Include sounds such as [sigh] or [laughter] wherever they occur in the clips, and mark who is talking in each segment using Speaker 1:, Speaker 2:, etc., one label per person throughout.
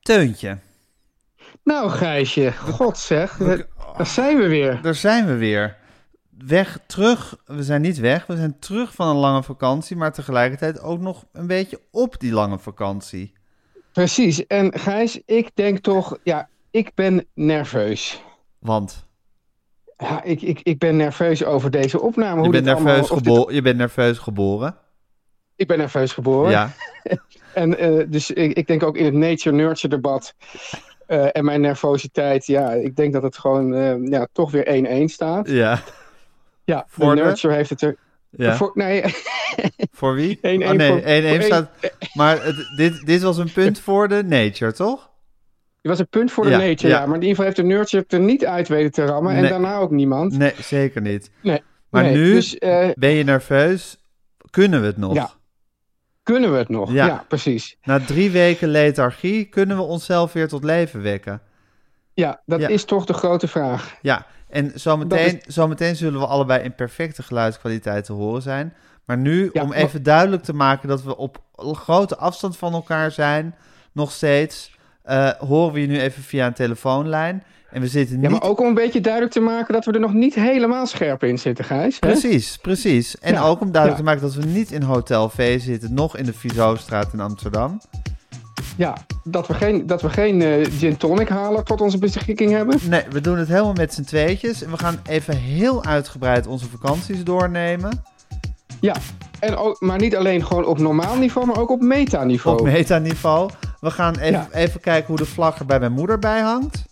Speaker 1: Teuntje,
Speaker 2: Nou, Gijsje, god zeg, daar daar zijn we weer.
Speaker 1: daar zijn we weer. Weg, terug. We zijn niet weg. We zijn terug van een lange vakantie, maar tegelijkertijd ook nog een beetje op die lange vakantie.
Speaker 2: Precies, en Gijs, ik denk toch, ja, ik ben nerveus.
Speaker 1: Want
Speaker 2: Ja, ik, ik, ik ben nerveus over deze opname.
Speaker 1: je
Speaker 2: hoe
Speaker 1: bent,
Speaker 2: dit allemaal-
Speaker 1: nerveus
Speaker 2: of dit-
Speaker 1: gebo- je bent nerveus geboren.
Speaker 2: ik ben nerveus geboren.
Speaker 1: Ja.
Speaker 2: En eh, dus ik, ik denk ook in het nature-nurture debat eh, en mijn nervositeit, ja, ik denk dat het gewoon eh, ja, toch weer 1-1 staat.
Speaker 1: Ja.
Speaker 2: Ja,
Speaker 1: Voor
Speaker 2: de
Speaker 1: de-
Speaker 2: nurture heeft het er...
Speaker 1: ja. Voor,
Speaker 2: Voor, nee, [laughs]
Speaker 1: wie?
Speaker 2: 1-1
Speaker 1: oh nee,
Speaker 2: voor-
Speaker 1: 1-1
Speaker 2: voor
Speaker 1: staat...
Speaker 2: [laughs]
Speaker 1: Maar het- dit, dit was een punt voor de nature, toch?
Speaker 2: het was een punt voor de
Speaker 1: Ja,
Speaker 2: nature,
Speaker 1: ja.
Speaker 2: ja. Maar in ieder geval heeft de nurture het er niet uit weten te rammen en
Speaker 1: Nee.
Speaker 2: daarna ook niemand.
Speaker 1: Nee, zeker niet.
Speaker 2: Nee,
Speaker 1: Maar
Speaker 2: nee,
Speaker 1: nu
Speaker 2: dus, eh,
Speaker 1: ben je nerveus. Kunnen we het nog?
Speaker 2: Ja. Kunnen we het nog?
Speaker 1: Ja.
Speaker 2: ja precies.
Speaker 1: Na drie weken lethargie kunnen we onszelf weer tot leven wekken.
Speaker 2: Ja, dat
Speaker 1: Ja.
Speaker 2: is toch de grote vraag.
Speaker 1: Ja, en zometeen,
Speaker 2: Dat
Speaker 1: zometeen zullen we allebei in perfecte geluidskwaliteit te horen zijn. Maar nu,
Speaker 2: Ja,
Speaker 1: om
Speaker 2: maar-
Speaker 1: even duidelijk te maken dat we op grote afstand van elkaar zijn, nog steeds, eh, horen we je nu even via een telefoonlijn. En we zitten
Speaker 2: Ja,
Speaker 1: niet...
Speaker 2: maar ook om een beetje duidelijk te maken dat we er nog niet helemaal scherp in zitten, Gijs. hè?
Speaker 1: Precies, precies. En
Speaker 2: Ja,
Speaker 1: ook om duidelijk
Speaker 2: ja.
Speaker 1: te maken dat we niet in Hotel V zitten, nog in de Vizostraat in Amsterdam.
Speaker 2: Ja, dat we geen, dat we geen eh, gin tonic halen tot onze beschikking hebben.
Speaker 1: Nee, we doen het helemaal met z'n tweetjes. En we gaan even heel uitgebreid onze vakanties doornemen.
Speaker 2: Ja, en ook, maar niet alleen gewoon op normaal niveau, maar ook op metaniveau.
Speaker 1: Op metaniveau. We gaan even,
Speaker 2: Ja.
Speaker 1: even kijken hoe de vlag er bij mijn moeder bij hangt.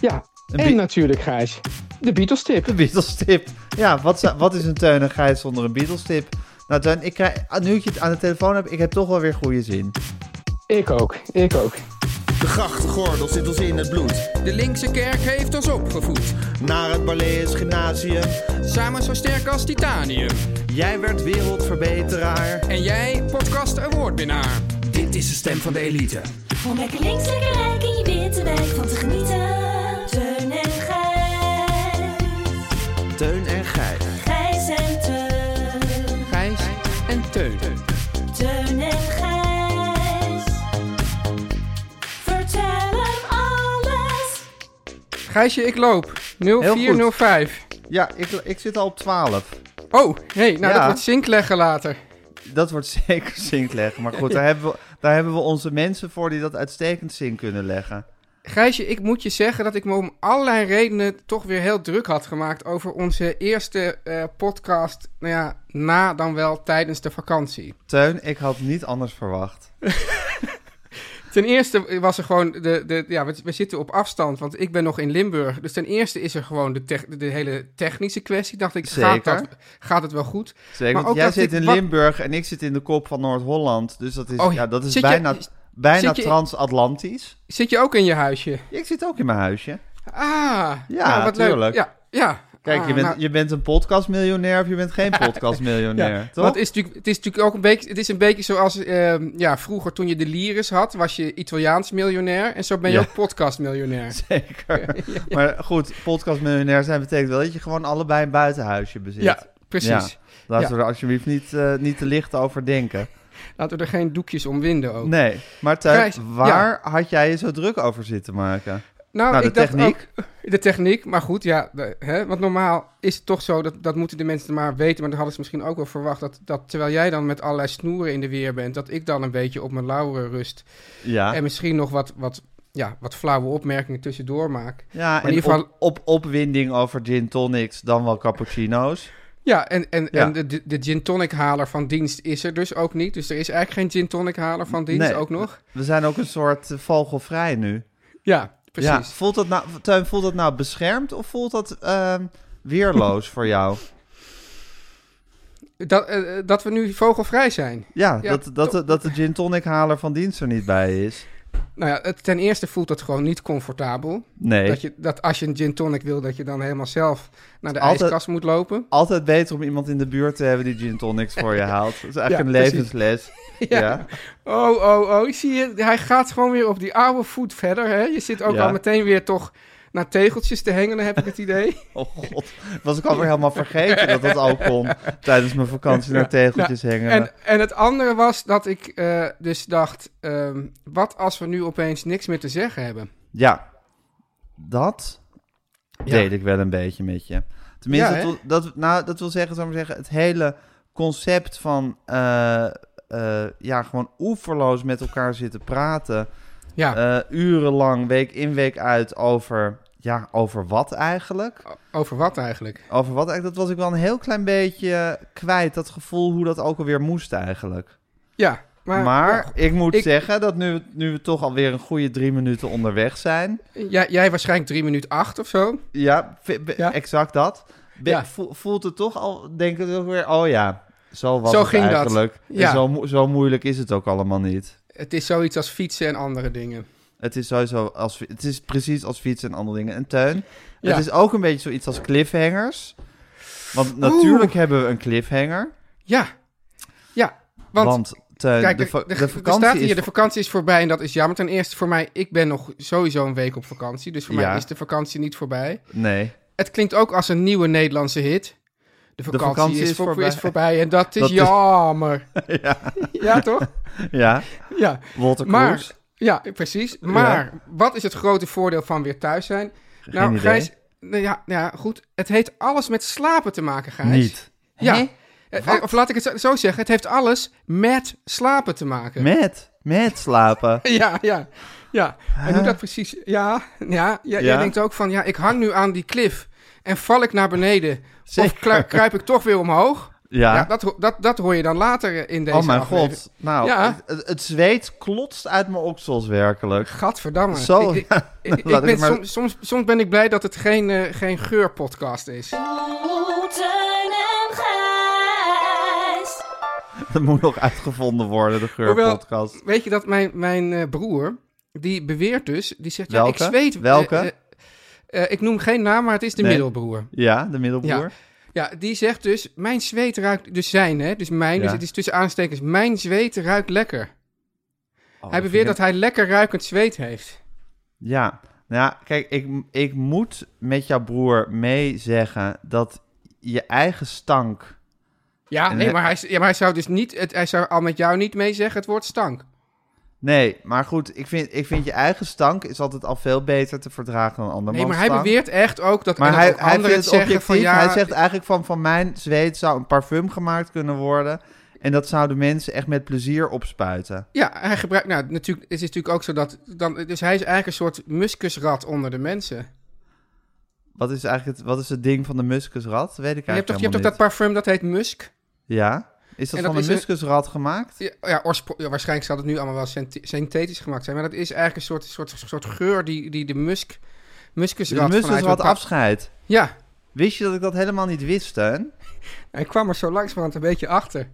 Speaker 2: ja,
Speaker 1: Een
Speaker 2: en
Speaker 1: bi-
Speaker 2: natuurlijk, Gijs, de Beatles tip.
Speaker 1: De Beatles-tip. Ja, wat, zou- wat is een Teun en Gijs zonder een Beatles-tip? Nou Teun, ik krijg, ah, nu ik je het aan de telefoon heb, ik heb toch wel weer goede zin.
Speaker 2: Ik ook, ik ook.
Speaker 3: De grachtgordel zit ons in het bloed.
Speaker 4: De linkse kerk heeft ons opgevoed.
Speaker 3: Naar het Balees Gymnasium.
Speaker 4: Samen zo sterk als titanium.
Speaker 3: Jij werd wereldverbeteraar.
Speaker 4: En jij, podcast awardwinnaar.
Speaker 5: Dit is de stem van de elite.
Speaker 6: Om lekker links, lekker rijk in je witte wijk van te genieten. Teun en Gijs.
Speaker 3: Teun en Gijs.
Speaker 6: Gijs en Teun.
Speaker 4: Gijs en Teun.
Speaker 6: Teun en Gijs. Vertel hem alles.
Speaker 4: Gijsje, ik loop.
Speaker 1: goed.
Speaker 4: 0405.
Speaker 1: Ja, ik, ik zit al op 12.
Speaker 4: Oh, hey, nou
Speaker 1: Ja.
Speaker 4: dat wordt zink leggen later.
Speaker 1: Dat wordt [laughs] zeker zink leggen. Maar goed, daar hebben, we, daar hebben we onze mensen voor die dat uitstekend zink kunnen leggen.
Speaker 4: Gijsje, ik moet je zeggen dat ik me om allerlei redenen toch weer heel druk had gemaakt over onze eerste eh, podcast. Nou ja, na dan wel tijdens de vakantie.
Speaker 1: Teun, ik had niet anders verwacht.
Speaker 4: Ten eerste was er gewoon de, de ja, we, we zitten op afstand, want ik ben nog in Limburg. Dus ten eerste is er gewoon de, tech- de hele technische kwestie. Dacht ik, gaat,
Speaker 1: Zeker.
Speaker 4: dat, gaat het wel goed?
Speaker 1: Zeker,
Speaker 4: Maar
Speaker 1: want
Speaker 4: ook
Speaker 1: jij
Speaker 4: dat
Speaker 1: zit
Speaker 4: ik-
Speaker 1: in
Speaker 4: wat-
Speaker 1: Limburg en ik zit in de kop van Noord-Holland. Dus dat is,
Speaker 4: Oh ja,
Speaker 1: ja. dat is
Speaker 4: zit je-
Speaker 1: bijna, bijna
Speaker 4: zit je-
Speaker 1: transatlantisch.
Speaker 4: Zit je ook in je huisje?
Speaker 1: Ik zit ook in mijn huisje.
Speaker 4: Ah,
Speaker 1: Ja,
Speaker 4: nou, wat leuk.
Speaker 1: tuurlijk.
Speaker 4: Ja, ja.
Speaker 1: Kijk,
Speaker 4: Ah,
Speaker 1: je, bent,
Speaker 4: nou,
Speaker 1: je bent een podcastmiljonair of je bent
Speaker 4: [laughs]
Speaker 1: geen podcastmiljonair,
Speaker 4: ja.
Speaker 1: toch?
Speaker 4: Want het is natuurlijk, het is natuurlijk ook een beetje, het is een beetje zoals ehm, ja, vroeger toen je de Liris had, was je Italiaans miljonair en zo ben je
Speaker 1: Ja.
Speaker 4: ook podcastmiljonair.
Speaker 1: [laughs]
Speaker 4: [laughs]
Speaker 1: Zeker. Maar goed, podcastmiljonair zijn betekent wel dat je gewoon allebei een buitenhuisje bezit.
Speaker 4: Ja, precies.
Speaker 1: Ja. Laten
Speaker 4: Ja.
Speaker 1: we er alsjeblieft niet, eh, niet te licht over denken.
Speaker 4: Laten we er geen doekjes om winden ook.
Speaker 1: Nee, maar Teun,
Speaker 4: Gijs,
Speaker 1: waar had jij je zo druk over zitten maken?
Speaker 4: Nou,
Speaker 1: Nou, de
Speaker 4: ik dacht
Speaker 1: techniek.
Speaker 4: ook- [laughs] de techniek, maar goed, ja. de- hè, want normaal is het toch zo, dat, dat moeten de mensen maar weten. Maar dan hadden ze misschien ook wel verwacht dat, dat terwijl jij dan met allerlei snoeren in de weer bent, dat ik dan een beetje op mijn lauren rust.
Speaker 1: Ja.
Speaker 4: En misschien nog wat, wat, ja, wat flauwe opmerkingen tussendoor maak.
Speaker 1: Ja,
Speaker 4: in
Speaker 1: en
Speaker 4: ieder geval-
Speaker 1: op, op opwinding over gin tonics, dan wel cappuccino's.
Speaker 4: Ja, en, en,
Speaker 1: Ja.
Speaker 4: en de, de, de gin tonic haler van dienst is er dus ook niet. Dus er is eigenlijk geen gin tonic haler van dienst
Speaker 1: Nee.
Speaker 4: ook nog.
Speaker 1: We zijn ook een soort eh, vogelvrij nu.
Speaker 4: Ja,
Speaker 1: Ja,
Speaker 4: precies.
Speaker 1: voelt dat nou, Teun, voelt dat nou beschermd of voelt dat ehm, weerloos voor
Speaker 4: [laughs]
Speaker 1: jou?
Speaker 4: Dat, eh, dat we nu vogelvrij zijn.
Speaker 1: Ja,
Speaker 4: Ja,
Speaker 1: dat, dat, de- dat de gin tonic haler van dienst er niet bij is.
Speaker 4: Nou ja, het, ten eerste voelt dat gewoon niet comfortabel.
Speaker 1: Nee,
Speaker 4: Dat, je, dat als je een gin tonic wil, dat je dan helemaal zelf naar de
Speaker 1: Altijd-
Speaker 4: ijskast moet lopen.
Speaker 1: altijd beter om iemand in de buurt te hebben die gin tonics voor je haalt. Dat is eigenlijk
Speaker 4: Ja,
Speaker 1: een
Speaker 4: precies.
Speaker 1: levensles.
Speaker 4: [laughs] Ja.
Speaker 1: Ja.
Speaker 4: Oh, oh, oh, zie je, hij gaat gewoon weer op die oude voet verder. Hè? Je zit ook
Speaker 1: Ja.
Speaker 4: al meteen weer toch naar tegeltjes te hengelen, heb ik het
Speaker 1: [laughs]
Speaker 4: idee.
Speaker 1: Oh god, was ik alweer helemaal vergeten dat dat al
Speaker 4: [laughs]
Speaker 1: kon tijdens mijn vakantie naar tegeltjes hengelen.
Speaker 4: en, en het andere was dat ik eh, dus dacht, ehm, wat als we nu opeens niks meer te zeggen hebben?
Speaker 1: Ja, dat deed ik wel een beetje met je. Tenminste,
Speaker 4: Ja, hè?
Speaker 1: dat, wil- dat, nou, dat wil zeggen, zou ik maar zeggen, het hele concept van eh, eh, ja, gewoon oeverloos met elkaar zitten praten,
Speaker 4: Ja,
Speaker 1: eh, urenlang, week in, week uit, over, ja, over wat eigenlijk?
Speaker 4: o- over wat eigenlijk?
Speaker 1: Over wat eigenlijk, dat was ik wel een heel klein beetje kwijt, dat gevoel hoe dat ook alweer moest eigenlijk.
Speaker 4: Ja, maar...
Speaker 1: Maar, ik moet
Speaker 4: ik-
Speaker 1: zeggen dat nu, nu we toch alweer een goede drie minuten onderweg zijn,
Speaker 4: jij, jij waarschijnlijk drie minuut acht of zo.
Speaker 1: Ja, v- b-
Speaker 4: Ja.
Speaker 1: exact dat. Be-
Speaker 4: Ja.
Speaker 1: vo- Voelt het toch al, denk ik ook weer, oh ja, zo was
Speaker 4: Zo
Speaker 1: het
Speaker 4: ging dat.
Speaker 1: eigenlijk.
Speaker 4: Ja.
Speaker 1: En zo, mo- zo moeilijk is het ook allemaal niet.
Speaker 4: Het is zoiets als fietsen en andere dingen.
Speaker 1: Het is sowieso als, fi- het is precies als fietsen en andere dingen. En tuin,
Speaker 4: Ja.
Speaker 1: het is ook een beetje zoiets als cliffhangers. Want natuurlijk hebben we een cliffhanger.
Speaker 4: Ja, ja,
Speaker 1: Want,
Speaker 4: want...
Speaker 1: Teun,
Speaker 4: Kijk,
Speaker 1: de, va- de,
Speaker 4: de, er
Speaker 1: vakantie
Speaker 4: staat
Speaker 1: is...
Speaker 4: hier, de vakantie is voorbij en dat is jammer. Ten eerste voor mij, ik ben nog sowieso een week op vakantie. Dus voor
Speaker 1: Ja.
Speaker 4: mij is de vakantie niet voorbij.
Speaker 1: Nee,
Speaker 4: Het klinkt ook als een nieuwe Nederlandse hit. De vakantie,
Speaker 1: vakantie
Speaker 4: is,
Speaker 1: is
Speaker 4: voor-
Speaker 1: voorbij.
Speaker 4: is voorbij en dat is
Speaker 1: Dat is-
Speaker 4: jammer.
Speaker 1: ja,
Speaker 4: [laughs] ja, toch?
Speaker 1: ja,
Speaker 4: Ja.
Speaker 1: Walter
Speaker 4: Maar-
Speaker 1: Kroes.
Speaker 4: ja, precies. Maar wat is het grote voordeel van weer thuis zijn? nou,
Speaker 1: idee.
Speaker 4: Gijs, nou ja, nou ja, goed. Het heeft alles met slapen te maken, Gijs.
Speaker 1: Niet.
Speaker 4: Ja.
Speaker 1: Hè?
Speaker 4: Eh, eh, Of laat ik het zo- zo zeggen, het heeft alles met slapen te maken.
Speaker 1: Met, met slapen.
Speaker 4: [laughs] Ja, ja, ja. En hoe dat precies... Ja, ja, ja, jij
Speaker 1: Ja?
Speaker 4: denkt ook van, ja, ik hang nu aan die klif. En val ik naar beneden?
Speaker 1: Zeker.
Speaker 4: Of kru- kruip ik toch weer omhoog?
Speaker 1: Ja.
Speaker 4: Ja, dat, ho- dat, dat hoor je dan later eh, in deze
Speaker 1: oh mijn
Speaker 4: aflevering.
Speaker 1: god. Nou,
Speaker 4: Ja.
Speaker 1: het, het zweet klotst uit mijn oksels werkelijk.
Speaker 4: Gadverdamme.
Speaker 1: [laughs] Zo,
Speaker 4: Ik- ik-
Speaker 1: ja.
Speaker 4: ik- ik
Speaker 1: [laughs] Laat ik
Speaker 4: ben
Speaker 1: maar-
Speaker 4: soms, soms, soms ben ik blij dat het geen, eh, geen geurpodcast is.
Speaker 6: Oeh, Oh, Teun en Gijs.
Speaker 1: Dat moet nog uitgevonden worden, de geurpodcast.
Speaker 4: Weet je dat mijn, mijn eh, broer, die beweert dus, die zegt, ja, ik
Speaker 1: Welke?
Speaker 4: zweet...
Speaker 1: Welke?
Speaker 4: eh, eh, eh, ik noem geen naam, maar het is de
Speaker 1: Nee.
Speaker 4: middelbroer.
Speaker 1: Ja, de middelboer. Oh,
Speaker 4: Ja, die zegt dus, mijn zweet ruikt, dus zijn hè, dus mijn,
Speaker 1: Ja.
Speaker 4: dus het is tussen aanstekens, mijn zweet ruikt lekker.
Speaker 1: Oh,
Speaker 4: hij
Speaker 1: vind
Speaker 4: beweert
Speaker 1: ik-
Speaker 4: dat hij lekker ruikend zweet heeft.
Speaker 1: Ja, nou ja, kijk, ik, ik moet met jouw broer mee zeggen dat je eigen stank...
Speaker 4: Ja,
Speaker 1: En eh,
Speaker 4: nee,
Speaker 1: hij-
Speaker 4: maar, hij, ja maar hij zou dus niet, het, hij zou al met jou niet mee zeggen het woord stank.
Speaker 1: Nee, maar goed, ik vind, ik vind je eigen stank is altijd al veel beter te verdragen dan andermans
Speaker 4: Nee, maar hij
Speaker 1: stank.
Speaker 4: beweert echt ook dat, en
Speaker 1: Maar
Speaker 4: dat
Speaker 1: hij,
Speaker 4: ook
Speaker 1: hij
Speaker 4: anderen
Speaker 1: vindt
Speaker 4: het
Speaker 1: het
Speaker 4: zeggen
Speaker 1: objectief.
Speaker 4: van ja...
Speaker 1: Hij zegt eigenlijk van, van mijn zweet zou een parfum gemaakt kunnen worden. En dat zouden mensen echt met plezier opspuiten.
Speaker 4: Ja, hij gebruikt, nou natuurlijk, het is natuurlijk ook zo dat, dan, dus hij is eigenlijk een soort muskusrat onder de mensen.
Speaker 1: Wat is eigenlijk het, wat is het ding van de muskusrat? Weet ik
Speaker 4: je hebt
Speaker 1: eigenlijk
Speaker 4: toch, je hebt toch
Speaker 1: helemaal
Speaker 4: dat parfum dat heet musk?
Speaker 1: niet. Ja? Is dat
Speaker 4: En dat
Speaker 1: van
Speaker 4: is
Speaker 1: de
Speaker 4: een-
Speaker 1: muskusrat gemaakt?
Speaker 4: Ja, ja, oorspro- ja, waarschijnlijk zal het nu allemaal wel synth- synthetisch gemaakt zijn. Maar dat is eigenlijk een soort, soort, soort geur die, die de musk,
Speaker 1: De
Speaker 4: muskusrat vanuit...
Speaker 1: muskusrat
Speaker 4: een pa-
Speaker 1: afscheid.
Speaker 4: Ja,
Speaker 1: Wist je dat ik dat helemaal niet wist, Teun?
Speaker 4: hij kwam er zo langzamerhand een beetje achter.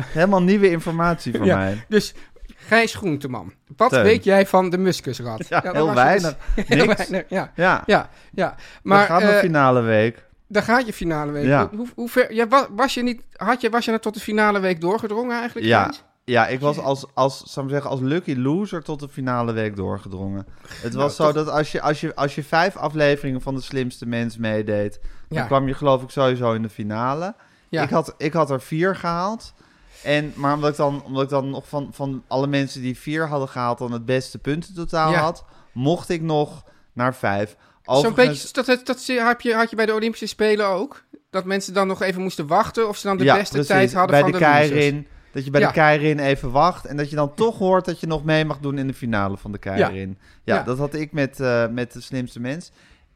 Speaker 1: Helemaal nieuwe informatie voor
Speaker 4: Ja.
Speaker 1: mij.
Speaker 4: Dus Gijs Groenteman, wat
Speaker 1: Teun.
Speaker 4: weet jij van de muskusrat?
Speaker 1: Ja,
Speaker 4: dat
Speaker 1: heel
Speaker 4: was het.
Speaker 1: weinig.
Speaker 4: heel
Speaker 1: Niks.
Speaker 4: weinig, [laughs] ja.
Speaker 1: Ja,
Speaker 4: Ja, ja.
Speaker 1: maar, we
Speaker 4: maar
Speaker 1: gaan naar
Speaker 4: eh,
Speaker 1: finale week.
Speaker 4: daar gaat je finale week.
Speaker 1: Ja.
Speaker 4: Hoe, hoe ver, ja, was, was, je niet, had je, was je nou tot de finale week doorgedrongen eigenlijk?
Speaker 1: Ja,
Speaker 4: Gijs?
Speaker 1: ja, ik was als, als, zou ik zeggen, als lucky loser tot de finale week doorgedrongen. Het was zo
Speaker 4: toch-
Speaker 1: dat als je, als, je, als je vijf afleveringen van de slimste mens meedeed,
Speaker 4: Ja.
Speaker 1: dan kwam je geloof ik sowieso in de finale.
Speaker 4: Ja.
Speaker 1: Ik, had, ik had er vier gehaald. En, maar omdat ik dan, omdat ik dan nog van, van alle mensen die vier hadden gehaald dan het beste puntentotaal
Speaker 4: Ja.
Speaker 1: had, mocht ik nog naar vijf.
Speaker 4: Zo'n beetje, dat, dat, dat zie- heb je, had je bij de Olympische Spelen ook. Dat mensen dan nog even moesten wachten of ze dan de beste
Speaker 1: precies.
Speaker 4: tijd hadden
Speaker 1: bij
Speaker 4: van
Speaker 1: de,
Speaker 4: de losers.
Speaker 1: Keirin. Dat je bij
Speaker 4: Ja.
Speaker 1: de Keirin even wacht. En dat je dan toch hoort dat je nog mee mag doen in de finale van de Keirin. Ja,
Speaker 4: Ja.
Speaker 1: dat had ik met, eh, met de slimste mens.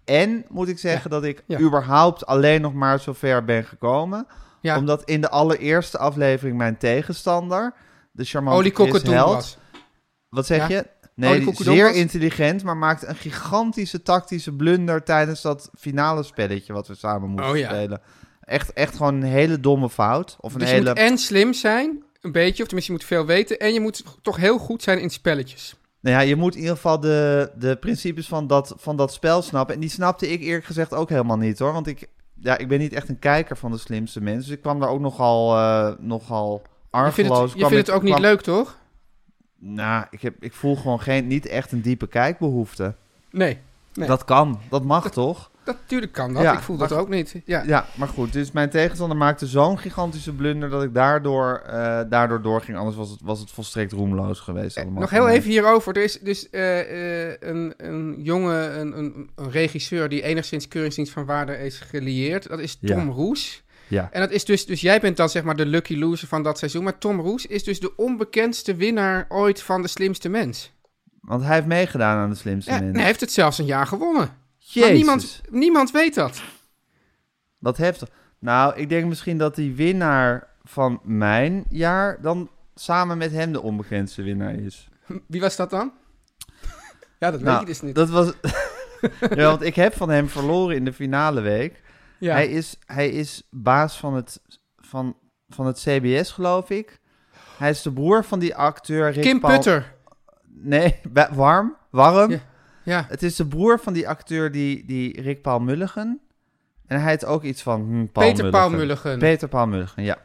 Speaker 1: En moet ik zeggen dat ik
Speaker 4: Ja.
Speaker 1: überhaupt alleen nog maar zover ben gekomen.
Speaker 4: Ja.
Speaker 1: Omdat in de allereerste aflevering mijn tegenstander, de charmante
Speaker 4: Oli
Speaker 1: Chris
Speaker 4: Kokkedoen
Speaker 1: Held...
Speaker 4: was.
Speaker 1: Wat zeg
Speaker 4: Ja.
Speaker 1: je?
Speaker 4: Oh,
Speaker 1: Nee,
Speaker 4: die
Speaker 1: die-
Speaker 4: Koekedoen
Speaker 1: zeer
Speaker 4: was-
Speaker 1: intelligent, maar maakt een gigantische tactische blunder tijdens dat finale spelletje wat we samen moesten
Speaker 4: Oh, ja.
Speaker 1: spelen. Echt, echt gewoon een hele domme fout. Of een
Speaker 4: Dus je
Speaker 1: hele...
Speaker 4: moet en slim zijn, een beetje, of tenminste je moet veel weten. En je moet toch heel goed zijn in spelletjes.
Speaker 1: Nou ja, je moet in ieder geval de, de principes van dat, van dat spel snappen. En die snapte ik eerlijk gezegd ook helemaal niet hoor. Want ik, ja, ik ben niet echt een kijker van de slimste mensen. Dus ik kwam daar ook nogal, eh nogal
Speaker 4: Je
Speaker 1: argeloos.
Speaker 4: vindt het, je
Speaker 1: kwam ik-
Speaker 4: vindt het ook niet
Speaker 1: kwam-
Speaker 4: leuk, toch?
Speaker 1: Nou, ik, heb, ik voel gewoon geen, niet echt een diepe kijkbehoefte.
Speaker 4: Nee, Nee.
Speaker 1: Dat kan, dat mag toch?
Speaker 4: natuurlijk kan dat.
Speaker 1: Ja,
Speaker 4: ik voel
Speaker 1: maar
Speaker 4: dat ook niet. Ja.
Speaker 1: Ja, maar goed. Dus mijn tegenstander maakte zo'n gigantische blunder dat ik daardoor, eh daardoor doorging. Anders was het, was het volstrekt roemloos geweest.
Speaker 4: Eh,
Speaker 1: allemaal
Speaker 4: Nog
Speaker 1: voor
Speaker 4: heel
Speaker 1: mij.
Speaker 4: even hierover. Er is dus eh, eh, een, een jongen, een, een, een regisseur die enigszins keuringsdienst van waarde is gelieerd. Dat is Tom
Speaker 1: Ja.
Speaker 4: Roes.
Speaker 1: Ja.
Speaker 4: En dat is dus, dus jij bent dan zeg maar de lucky loser van dat seizoen. Maar Tom Roes is dus de onbekendste winnaar ooit van de slimste mens.
Speaker 1: Want hij heeft meegedaan aan de slimste
Speaker 4: Ja, en
Speaker 1: mensen.
Speaker 4: hij heeft het zelfs een jaar gewonnen.
Speaker 1: Jezus,
Speaker 4: Maar niemand, niemand weet dat.
Speaker 1: wat heftig. Nou, ik denk misschien dat die winnaar van mijn jaar dan samen met hem de onbekendste winnaar is.
Speaker 4: Wie was dat dan? ja, dat weet
Speaker 1: nou,
Speaker 4: je dus niet.
Speaker 1: Dat was... [laughs] ja, want ik heb van hem verloren in de finale week.
Speaker 4: ja.
Speaker 1: Hij, is, hij is baas van het, van, van het CBS, geloof ik. Hij is de broer van die acteur Rick
Speaker 4: Kim
Speaker 1: Paul-
Speaker 4: Putter.
Speaker 1: Nee, wa- warm. Warm.
Speaker 4: Ja. Ja.
Speaker 1: Het is de broer van die acteur die, die Rick Paul Mulligen. En hij heet ook iets van hm, Paul
Speaker 4: Peter
Speaker 1: Mulligen.
Speaker 4: Paul Mulligen.
Speaker 1: Peter Paul Mulligen, ja.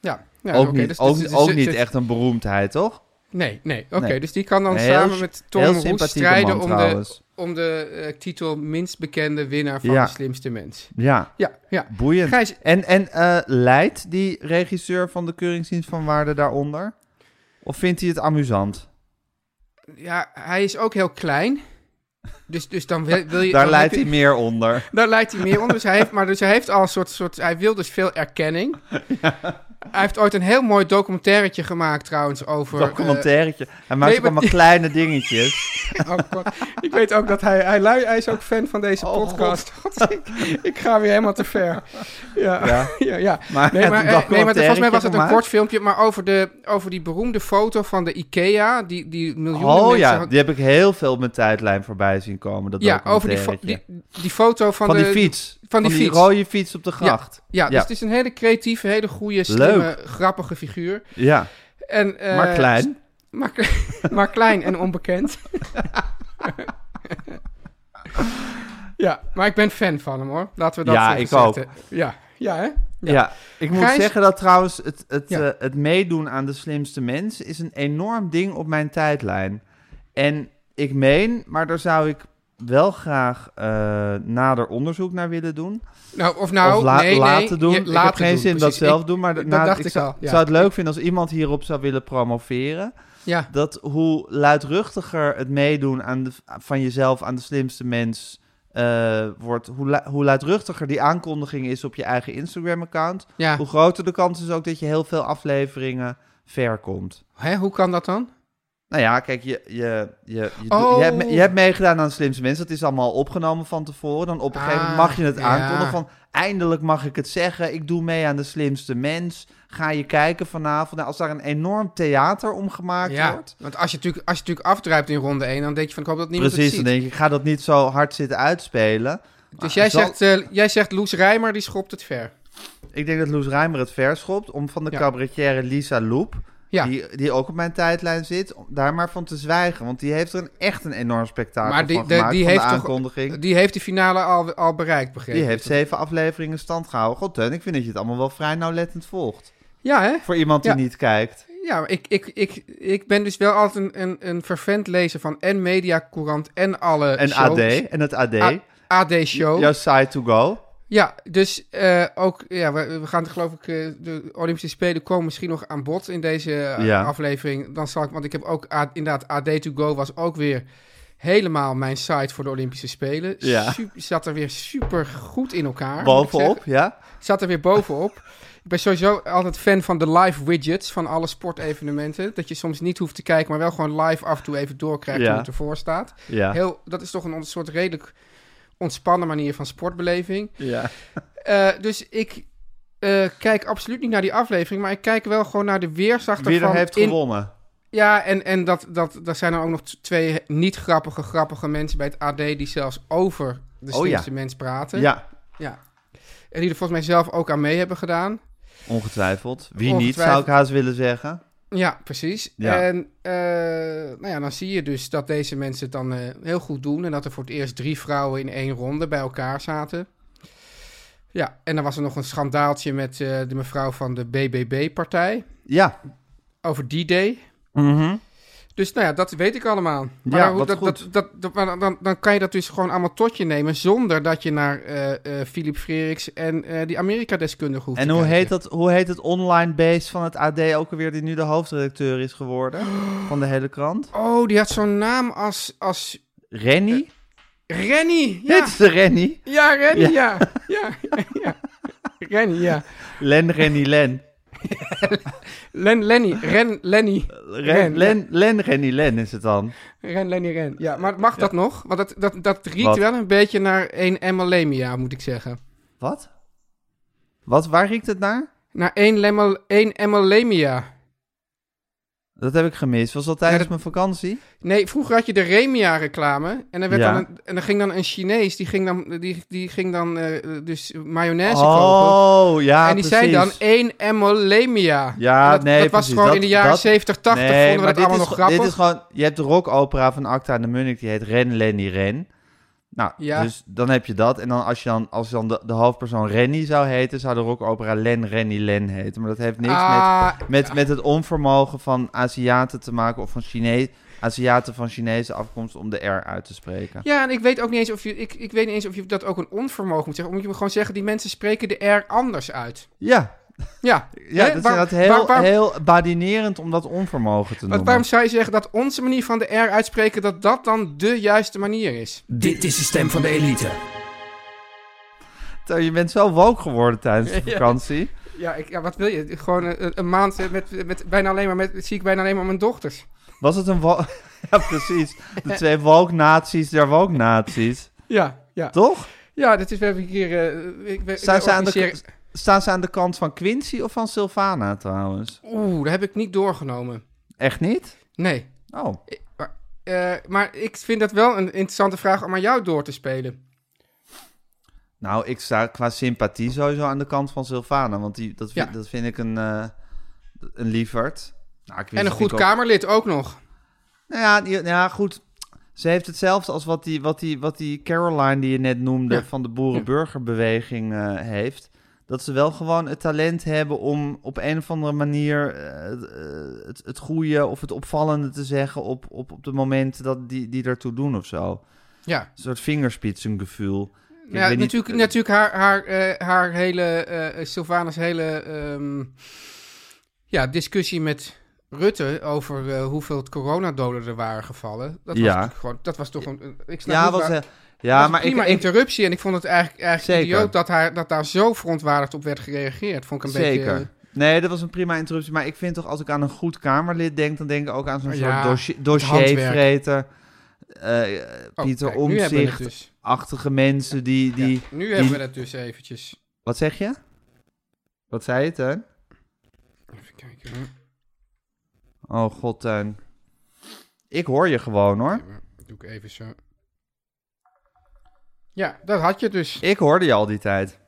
Speaker 4: ja. ja
Speaker 1: ook
Speaker 4: oké,
Speaker 1: niet,
Speaker 4: dus-
Speaker 1: ook,
Speaker 4: dus- dus-
Speaker 1: ook
Speaker 4: dus-
Speaker 1: niet
Speaker 4: dus-
Speaker 1: echt een beroemdheid, toch?
Speaker 4: Nee, nee. Oké,
Speaker 1: Nee.
Speaker 4: dus die kan dan
Speaker 1: Een heel
Speaker 4: samen
Speaker 1: s-
Speaker 4: met
Speaker 1: heel
Speaker 4: Tom Roes
Speaker 1: sympathieke
Speaker 4: strijden
Speaker 1: man,
Speaker 4: om de,
Speaker 1: trouwens.
Speaker 4: om de eh, titel minst bekende winnaar van
Speaker 1: Ja.
Speaker 4: de slimste mens.
Speaker 1: Ja,
Speaker 4: Ja, ja.
Speaker 1: boeiend.
Speaker 4: Gijs-
Speaker 1: En, en eh, leidt die regisseur van de Keuringsdienst van Waarde daaronder? Of vindt hij het amusant?
Speaker 4: ja, hij is ook heel klein. Dus, dus dan wil, wil
Speaker 1: [laughs]
Speaker 4: je...
Speaker 1: Daar
Speaker 4: dan
Speaker 1: leidt
Speaker 4: heb
Speaker 1: hij
Speaker 4: je-
Speaker 1: meer onder.
Speaker 4: Daar leidt hij meer onder. Dus hij heeft, maar dus hij heeft al een soort, soort... Hij wil dus veel
Speaker 1: [laughs]
Speaker 4: erkenning. Hij heeft ooit een heel mooi documentairetje gemairetje gemaakt trouwens over... eh, [laughs]
Speaker 1: documentairetje. Hij maakt
Speaker 4: nee,
Speaker 1: ook
Speaker 4: maar- [laughs]
Speaker 1: allemaal kleine dingetjes.
Speaker 4: Oh, God. Ik weet ook dat hij, hij, lui, hij is ook fan van deze
Speaker 1: Oh,
Speaker 4: podcast. [laughs] God, ik, ik ga weer helemaal te ver. Ja, ja.
Speaker 1: Ja.
Speaker 4: [laughs] ja,
Speaker 1: Maar [laughs]
Speaker 4: nee, maar,
Speaker 1: een
Speaker 4: eh, nee, maar volgens mij was het een
Speaker 1: documentairetje
Speaker 4: kort filmpje, maar over, de, over die beroemde foto van de IKEA, die, die miljoenen
Speaker 1: Oh
Speaker 4: mensen...
Speaker 1: ja,
Speaker 4: had-
Speaker 1: die heb ik heel veel op mijn tijdlijn voorbij zien komen. Dat
Speaker 4: ja, over die, fo-
Speaker 1: documentairetje.
Speaker 4: die, die foto van,
Speaker 1: van,
Speaker 4: de...
Speaker 1: die fiets.
Speaker 4: van die fiets.
Speaker 1: rode fiets op de gracht.
Speaker 4: Ja, dus
Speaker 1: Ja.
Speaker 4: het is een hele creatieve, hele goede,
Speaker 1: Leuk.
Speaker 4: slimme, grappige figuur.
Speaker 1: Ja,
Speaker 4: En, eh,
Speaker 1: maar klein.
Speaker 4: Maar, [laughs] maar klein
Speaker 1: [laughs]
Speaker 4: en onbekend. ja, maar ik ben fan van hem hoor. Laten we dat
Speaker 1: Ja,
Speaker 4: zo
Speaker 1: ik
Speaker 4: gezegd
Speaker 1: ook.
Speaker 4: hebben. Ja, ja hè?
Speaker 1: Ja. ik moet
Speaker 4: Gijs-
Speaker 1: zeggen dat trouwens het, het,
Speaker 4: Ja.
Speaker 1: eh, het meedoen aan de slimste mens is een enorm ding op mijn tijdlijn. En ik meen, maar daar zou ik wel graag eh, nader onderzoek naar willen doen.
Speaker 4: Nou, of nou,
Speaker 1: of la-
Speaker 4: nee, nee,
Speaker 1: laten doen.
Speaker 4: je-
Speaker 1: ik heb
Speaker 4: laten
Speaker 1: geen
Speaker 4: doen,
Speaker 1: zin in dat
Speaker 4: precies.
Speaker 1: zelf
Speaker 4: Ik-
Speaker 1: doen, maar
Speaker 4: dat
Speaker 1: daarna-
Speaker 4: dacht
Speaker 1: ik,
Speaker 4: ik
Speaker 1: zou,
Speaker 4: al, ja.
Speaker 1: zou het leuk vinden als iemand hierop zou willen promoveren.
Speaker 4: Ja,
Speaker 1: Dat hoe luidruchtiger het meedoen aan de, van jezelf aan de slimste mens eh, wordt, hoe, lu- hoe luidruchtiger die aankondiging is op je eigen Instagram-account,
Speaker 4: ja.
Speaker 1: hoe groter de kans is ook dat je heel veel afleveringen ver komt.
Speaker 4: Hè, hoe kan dat dan?
Speaker 1: Nou ja, kijk, je, je, je, je, doet-
Speaker 4: Oh.
Speaker 1: je, hebt, me- je hebt meegedaan aan de slimste mensen. Dat is allemaal opgenomen van tevoren. Dan op een gegeven moment
Speaker 4: Ah,
Speaker 1: mag je het
Speaker 4: ja.
Speaker 1: aankondigen van... eindelijk mag ik het zeggen. Ik doe mee aan de slimste mens. Ga je kijken vanavond. Nou, als daar een enorm theater om gemaakt
Speaker 4: Ja,
Speaker 1: wordt...
Speaker 4: want als je, natuurlijk, als je natuurlijk afdruipt in ronde 1, dan denk je van ik hoop dat niemand
Speaker 1: Precies, dan
Speaker 4: het ziet.
Speaker 1: denk je, ik ga dat niet zo hard zitten uitspelen.
Speaker 4: Dus
Speaker 1: Maar
Speaker 4: jij,
Speaker 1: zal-
Speaker 4: zegt, eh, jij zegt Loes Rijmer, die schopt het ver.
Speaker 1: Ik denk dat Loes Rijmer het verschopt om van de
Speaker 4: Ja.
Speaker 1: cabaretière Lisa Loep...
Speaker 4: Ja.
Speaker 1: Die, die ook op mijn tijdlijn zit, om daar maar van te zwijgen. Want die heeft er een, echt een enorm spektakel
Speaker 4: Maar die,
Speaker 1: van
Speaker 4: de-
Speaker 1: gemaakt,
Speaker 4: die,
Speaker 1: van
Speaker 4: heeft
Speaker 1: de
Speaker 4: toch,
Speaker 1: aankondiging.
Speaker 4: die heeft de finale al, al bereikt, begrepen.
Speaker 1: Die heeft zeven afleveringen stand gehouden. God, Teun, ik vind dat je het allemaal wel vrij nauwlettend volgt.
Speaker 4: Ja, hè?
Speaker 1: Voor iemand die
Speaker 4: Ja.
Speaker 1: niet kijkt.
Speaker 4: Ja, maar ik, ik, ik, ik ben dus wel altijd een, een, een vervent lezer van en Media Courant en alle
Speaker 1: En
Speaker 4: shows.
Speaker 1: AD. En het AD.
Speaker 4: A- AD-show.
Speaker 1: Jouw site to go.
Speaker 4: Ja, dus eh, ook, ja, we, we gaan het geloof ik, eh, de Olympische Spelen komen misschien nog aan bod in deze eh,
Speaker 1: Ja.
Speaker 4: aflevering. Dan zal ik, want ik heb ook, A- inderdaad, AD to go was ook weer helemaal mijn site voor de Olympische Spelen.
Speaker 1: Ja.
Speaker 4: Su- zat er weer super goed in elkaar. moet ik
Speaker 1: Bovenop,
Speaker 4: zeggen.
Speaker 1: ja?
Speaker 4: Zat er weer bovenop. Ik ben sowieso altijd fan van de live widgets van alle sportevenementen. Dat je soms niet hoeft te kijken, maar wel gewoon live af en toe even doorkrijgt
Speaker 1: Ja.
Speaker 4: hoe het ervoor staat.
Speaker 1: Ja.
Speaker 4: Heel, dat is toch een on- soort redelijk ontspannen manier van sportbeleving.
Speaker 1: ja.
Speaker 4: Eh, dus ik eh, kijk absoluut niet naar die aflevering, maar ik kijk wel gewoon naar de weerslag
Speaker 1: Wie er
Speaker 4: ervan
Speaker 1: heeft
Speaker 4: in-
Speaker 1: gewonnen.
Speaker 4: Ja, en, en dat, dat, daar zijn dan ook nog t- twee niet grappige, grappige mensen bij het AD die zelfs over de
Speaker 1: Oh, ja.
Speaker 4: slimste mens praten.
Speaker 1: Ja,
Speaker 4: ja. En die er volgens mij zelf ook aan mee hebben gedaan.
Speaker 1: ongetwijfeld. Wie niet,
Speaker 4: Ongetwijfeld.
Speaker 1: zou ik haast willen zeggen.
Speaker 4: Ja, precies.
Speaker 1: Ja.
Speaker 4: En eh, nou ja, dan zie je dus dat deze mensen het dan eh, heel goed doen. En dat er voor het eerst drie vrouwen in één ronde bij elkaar zaten. Ja, en dan was er nog een schandaaltje met eh, de mevrouw van de BBB-partij.
Speaker 1: Ja,
Speaker 4: Over die day. Dus nou ja, dat weet ik allemaal. Maar
Speaker 1: Mhm. Ja,
Speaker 4: dan, hoe-
Speaker 1: wat
Speaker 4: dat,
Speaker 1: goed.
Speaker 4: Dat, dat, dat- maar dan, dan kan je dat dus gewoon allemaal tot je nemen... zonder dat je naar eh eh Philip Freeriks en eh, die Amerika-deskundige hoeft
Speaker 1: en
Speaker 4: te
Speaker 1: hoe
Speaker 4: kijken.
Speaker 1: heet, dat, hoe heet het online beest van het AD ook alweer, die nu de hoofdredacteur is
Speaker 4: [gasps]
Speaker 1: geworden van de hele krant?
Speaker 4: Oh, die had zo'n naam als, als
Speaker 1: Rennie?
Speaker 4: Rennie. Eh, Ja.
Speaker 1: Dit is de Rennie.
Speaker 4: Ja, Rennie, ja. Ja, ja, [laughs] ja. Rennie, ja.
Speaker 1: Len, Rennie, Len.
Speaker 4: Len, Lenny, Ren, Lenny.
Speaker 1: Ren, Len, Len, Rennie, Len is het dan.
Speaker 4: Ren, Lenny, Ren. Ja, maar mag dat nog? Want dat, dat, dat riekt
Speaker 1: Wat?
Speaker 4: wel een beetje naar één Emma Lemia, moet ik zeggen.
Speaker 1: Wat? Wat? Waar riekt het naar?
Speaker 4: Naar één, Lemmel, één Emma Lemia.
Speaker 1: Dat heb ik gemist. Was dat tijdens
Speaker 4: Ja,
Speaker 1: mijn vakantie?
Speaker 4: Nee, vroeger had je de Remia-reclame. En, dan werd
Speaker 1: Ja.
Speaker 4: dan een- en dan ging dan een Chinees, die ging dan, die, die ging dan eh, dus mayonaise kopen.
Speaker 1: Oh, ja,
Speaker 4: en die
Speaker 1: precies.
Speaker 4: zei dan eh, één Emma Lemia.
Speaker 1: Ja,
Speaker 4: En dat,
Speaker 1: nee,
Speaker 4: Dat was
Speaker 1: precies.
Speaker 4: gewoon
Speaker 1: Dat-
Speaker 4: in de jaren
Speaker 1: dat-
Speaker 4: 70, 80 vonden we dat
Speaker 1: dit
Speaker 4: allemaal
Speaker 1: is,
Speaker 4: nog
Speaker 1: gewoon-
Speaker 4: grappig.
Speaker 1: Dit is gewoon, je hebt de rockopera van Acta en de Munnik, die heet Ren, Lenny, Ren. Nou,
Speaker 4: Ja.
Speaker 1: dus dan heb je dat. En dan als, je dan, als dan de, de hoofdpersoon Rennie zou heten, zou de rockopera Len, Rennie, Len heten. Maar dat heeft niks
Speaker 4: Ah,
Speaker 1: met, met, met het onvermogen van Aziaten te maken of van Chinees, Aziaten van Chinese afkomst om de R uit te spreken.
Speaker 4: Ja, en ik weet ook niet eens of je, ik, ik weet niet eens of je dat ook een onvermogen moet zeggen. Moet je gewoon zeggen, die mensen spreken de R anders uit.
Speaker 1: Ja,
Speaker 4: Ja,
Speaker 1: ja
Speaker 4: Hè?
Speaker 1: dat is
Speaker 4: Waar-
Speaker 1: inderdaad
Speaker 4: waar-
Speaker 1: heel,
Speaker 4: waar-
Speaker 1: heel badinerend om dat onvermogen te
Speaker 4: want
Speaker 1: noemen.
Speaker 4: waarom zou je zeggen dat onze manier van de R uitspreken, dat dat dan de juiste manier is?
Speaker 5: Dit is de stem van de elite.
Speaker 1: Je bent zo woke geworden tijdens [laughs] de vakantie.
Speaker 4: Ja, ik, ja wat wil je? Gewoon eh, een, maand eh, met, met, bijna alleen maar met, zie ik bijna alleen maar mijn dochters.
Speaker 1: Was het een wo- [laughs] Ja, precies. De [laughs] twee woke-nazi's, der woke-nazi's.
Speaker 4: Ja, ja.
Speaker 1: Toch?
Speaker 4: Ja, dat is weer een keer... eh, ik, we-
Speaker 1: Staan
Speaker 4: we
Speaker 1: ze, aan de,
Speaker 4: organiseren-
Speaker 1: staan ze aan de kant van Quincy of van Sylvana trouwens?
Speaker 4: Oeh, dat heb ik niet doorgenomen.
Speaker 1: Echt niet?
Speaker 4: Nee.
Speaker 1: Oh.
Speaker 4: Maar, eh, maar ik vind dat wel een interessante vraag om aan jou door te spelen.
Speaker 1: Nou, ik sta qua sympathie sowieso aan de kant van Sylvana. Want die, dat, vind,
Speaker 4: Ja.
Speaker 1: dat vind ik een, eh een lieverd. Nou, Quincy
Speaker 4: En een
Speaker 1: vind
Speaker 4: goed
Speaker 1: ik ook-
Speaker 4: Kamerlid ook nog.
Speaker 1: Nou ja, die- nou ja, goed. Ze heeft hetzelfde als wat die, wat die, wat die Caroline die je net noemde
Speaker 4: Ja.
Speaker 1: van de boerenburgerbeweging eh, heeft. Dat ze wel gewoon het talent hebben om op een of andere manier eh, eh, het, het goede of het opvallende te zeggen op, op, op de momenten dat die, die daartoe doen of zo.
Speaker 4: Ja.
Speaker 1: Een soort vingerspitsengevoel. Ik
Speaker 4: Nou Ja,
Speaker 1: weet niet-
Speaker 4: natuurlijk, natuurlijk haar, haar, eh, haar hele, eh, Sylvana's hele ehm, ja, discussie met Rutte over eh, hoeveel het coronadoden er waren gevallen. Dat was,
Speaker 1: Ja.
Speaker 4: natuurlijk gewoon, dat was toch een... Ik snap
Speaker 1: Ja,
Speaker 4: niet
Speaker 1: was,
Speaker 4: waar-
Speaker 1: eh,
Speaker 4: dat
Speaker 1: ja
Speaker 4: was een
Speaker 1: maar ik,
Speaker 4: prima
Speaker 1: ik,
Speaker 4: interruptie en ik vond het eigenlijk, eigenlijk
Speaker 1: Zeker.
Speaker 4: idioot dat, haar, dat daar zo verontwaardigd op werd gereageerd. Vond ik een
Speaker 1: Zeker.
Speaker 4: beetje...
Speaker 1: Nee, dat was een prima interruptie. Maar ik vind toch, als ik aan een goed Kamerlid denk, dan denk ik ook aan zo'n
Speaker 4: Ja,
Speaker 1: soort dossier,
Speaker 4: handwerk.
Speaker 1: dossiervreter. eh,
Speaker 4: Oh,
Speaker 1: Pieter
Speaker 4: kijk, nu hebben we het dus.
Speaker 1: Omtzigt-achtige mensen die... die,
Speaker 4: Nu
Speaker 1: die-
Speaker 4: hebben we het dus eventjes.
Speaker 1: Wat zeg je? Wat zei je, Teun?
Speaker 4: Even kijken. hoor.
Speaker 1: Oh god, Teun. Ik hoor je gewoon, hoor.
Speaker 4: Dat doe ik even zo. Ja, dat had je dus.
Speaker 1: Ik hoorde je al die tijd.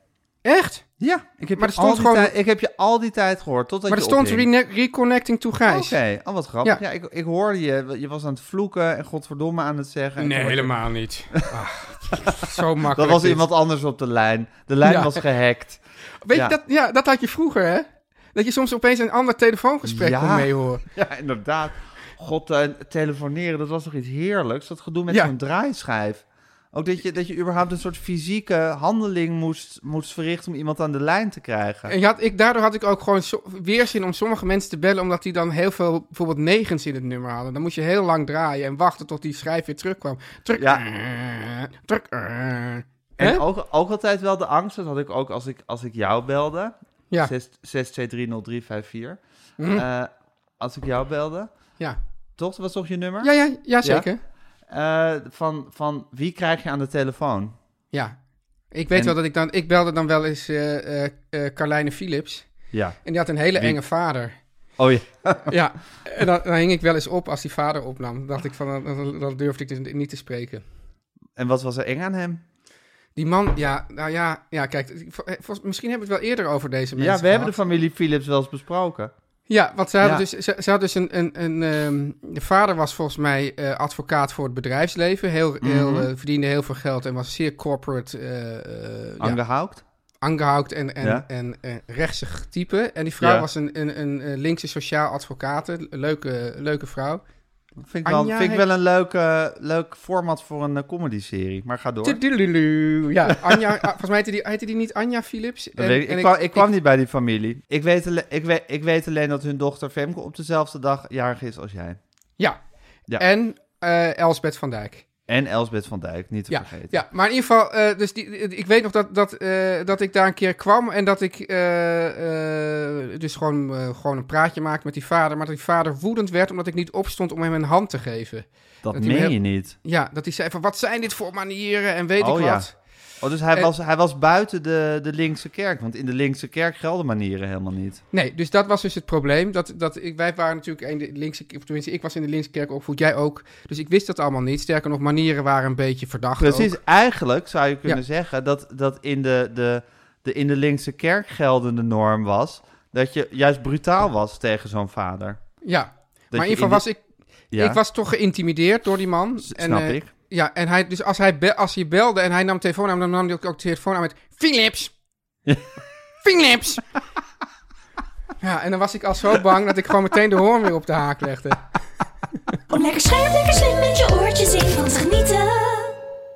Speaker 4: Echt?
Speaker 1: Ja, ik heb,
Speaker 4: Maar
Speaker 1: je,
Speaker 4: er stond
Speaker 1: al die
Speaker 4: gewoon-
Speaker 1: tijd- ik heb je al die tijd gehoord, totdat
Speaker 4: Maar er
Speaker 1: je
Speaker 4: stond
Speaker 1: ophing.
Speaker 4: rene- reconnecting to
Speaker 1: Oké,
Speaker 4: Gijs.
Speaker 1: oh wat grappig. Ja,
Speaker 4: Ja.
Speaker 1: ik, ik hoorde je. Je was aan het vloeken en godverdomme aan het zeggen. En
Speaker 4: Nee,
Speaker 1: toen hoorde-
Speaker 4: helemaal
Speaker 1: [laughs]
Speaker 4: niet. Ah, zo makkelijk.
Speaker 1: Dat was
Speaker 4: dit.
Speaker 1: iemand anders op de lijn. De lijn
Speaker 4: Ja.
Speaker 1: was gehackt.
Speaker 4: Weet
Speaker 1: ja.
Speaker 4: je, dat, ja, dat had je vroeger, hè? Dat je soms opeens een ander telefoongesprek
Speaker 1: Ja.
Speaker 4: kon meehoren.
Speaker 1: [laughs] Ja, inderdaad. God, eh, telefoneren, dat was toch iets heerlijks? Dat gedoe met
Speaker 4: Ja.
Speaker 1: zo'n draaischijf. Ook dat je, dat je überhaupt een soort fysieke handeling moest, moest verrichten om iemand aan de lijn te krijgen.
Speaker 4: En je had, ik, daardoor had ik ook gewoon zo, weerzin om sommige mensen te bellen, omdat die dan heel veel, bijvoorbeeld negens in het nummer hadden. Dan moest je heel lang draaien en wachten tot die schrijf weer terugkwam. Druk,
Speaker 1: Ja.
Speaker 4: eh, druk, eh.
Speaker 1: En
Speaker 4: Hè?
Speaker 1: ook, ook altijd wel de angst, dat had ik ook als ik, als ik jou belde.
Speaker 4: Ja, Mhm.
Speaker 1: 6230354. Eh, als ik jou belde.
Speaker 4: ja.
Speaker 1: Toch? Dat was toch je nummer?
Speaker 4: Ja, ja, ja, zeker. Ja.
Speaker 1: Eh, van, van wie krijg je aan de telefoon?
Speaker 4: Ik weet
Speaker 1: En-
Speaker 4: wel dat ik dan, ik belde dan wel eens eh, eh, eh, Carlijne Philips.
Speaker 1: Ja.
Speaker 4: En die had een hele
Speaker 1: Wie-
Speaker 4: enge vader.
Speaker 1: Oh ja.
Speaker 4: Ja, en dan, dan hing ik wel eens op als die vader opnam. Dan dacht ik van, dan, dan durfde ik dus niet te spreken.
Speaker 1: En wat was er eng aan hem?
Speaker 4: Die man, ja, nou ja, ja kijk, ik- vol- volgens- misschien hebben we het wel eerder over deze mensen
Speaker 1: ja, we hebben de
Speaker 4: gehad.
Speaker 1: familie Philips wel eens besproken.
Speaker 4: Ja, want ze hadden
Speaker 1: Ja.
Speaker 4: dus, ze, ze hadden dus een, een, een ehm, de vader was volgens mij eh, advocaat voor het bedrijfsleven. Heel,
Speaker 1: Mhm.
Speaker 4: heel, eh, verdiende heel veel geld en was zeer corporate eh, eh, ja,
Speaker 1: Angehaukt?
Speaker 4: aangehouden en, en,
Speaker 1: Ja.
Speaker 4: en, eh, rechtsig type. En die vrouw
Speaker 1: Ja.
Speaker 4: was een, een, een eh, linkse sociaal advocate, leuke, leuke vrouw.
Speaker 1: Vind ik wel,
Speaker 4: Anja
Speaker 1: vind ik
Speaker 4: heeft-
Speaker 1: wel een leuk, eh, leuk format voor een comedy serie. Maar ga door.
Speaker 4: Tudululu. Ja, Anja, [laughs] ah, volgens mij heette die, heette die niet Anja Philips.
Speaker 1: Dat
Speaker 4: En-
Speaker 1: weet ik.
Speaker 4: en
Speaker 1: ik, kwam, ik kwam niet bij die familie. Ik weet, alle- ik, weet, ik weet alleen dat hun dochter Femke op dezelfde dag jarig is als jij.
Speaker 4: Ja.
Speaker 1: Ja.
Speaker 4: En eh, Elsbeth van Dijk.
Speaker 1: En Elsbeth van Dijk, niet te
Speaker 4: Ja,
Speaker 1: vergeten.
Speaker 4: ja, maar in ieder geval, eh, dus die, die- ik weet nog dat, dat, eh, dat ik daar een keer kwam en dat ik eh, eh, dus gewoon, eh, gewoon een praatje maakte met die vader. Maar dat die vader woedend werd omdat ik niet opstond om hem een hand te geven.
Speaker 1: Dat,
Speaker 4: Dat hij
Speaker 1: meen
Speaker 4: me-
Speaker 1: je niet.
Speaker 4: Ja, dat hij zei van wat zijn dit voor manieren en weet
Speaker 1: Oh,
Speaker 4: ik
Speaker 1: ja.
Speaker 4: wat.
Speaker 1: Oh, dus hij,
Speaker 4: En-
Speaker 1: was, hij was buiten de, de linkse kerk. Want in de linkse kerk gelden manieren helemaal niet.
Speaker 4: Nee, dus dat was dus het probleem. Dat, dat ik, wij waren natuurlijk in de linkse, of tenminste ik was in de linkse kerk opgevoed, jij ook. Dus ik wist dat allemaal niet. Sterker nog, manieren waren een beetje verdacht
Speaker 1: Precies,
Speaker 4: ook.
Speaker 1: eigenlijk zou je kunnen
Speaker 4: Ja.
Speaker 1: zeggen dat, dat in, de, de, de, in de linkse kerk geldende norm was... dat je juist brutaal was tegen zo'n vader.
Speaker 4: Ja,
Speaker 1: Dat
Speaker 4: maar
Speaker 1: je
Speaker 4: in ieder geval
Speaker 1: in
Speaker 4: was ik,
Speaker 1: Ja,
Speaker 4: ik was toch geïntimideerd door die man.
Speaker 1: s- snap
Speaker 4: eh,
Speaker 1: ik.
Speaker 4: Ja, en hij, dus als hij, be- als hij belde en hij nam telefoon aan, dan nam hij ook de telefoon aan met Philips. [laughs] Philips! ja, en dan was ik al zo bang dat ik gewoon meteen de hoorn weer op de haak legde.
Speaker 6: Om lekker scherp, lekker slim met je oortjes in van te genieten.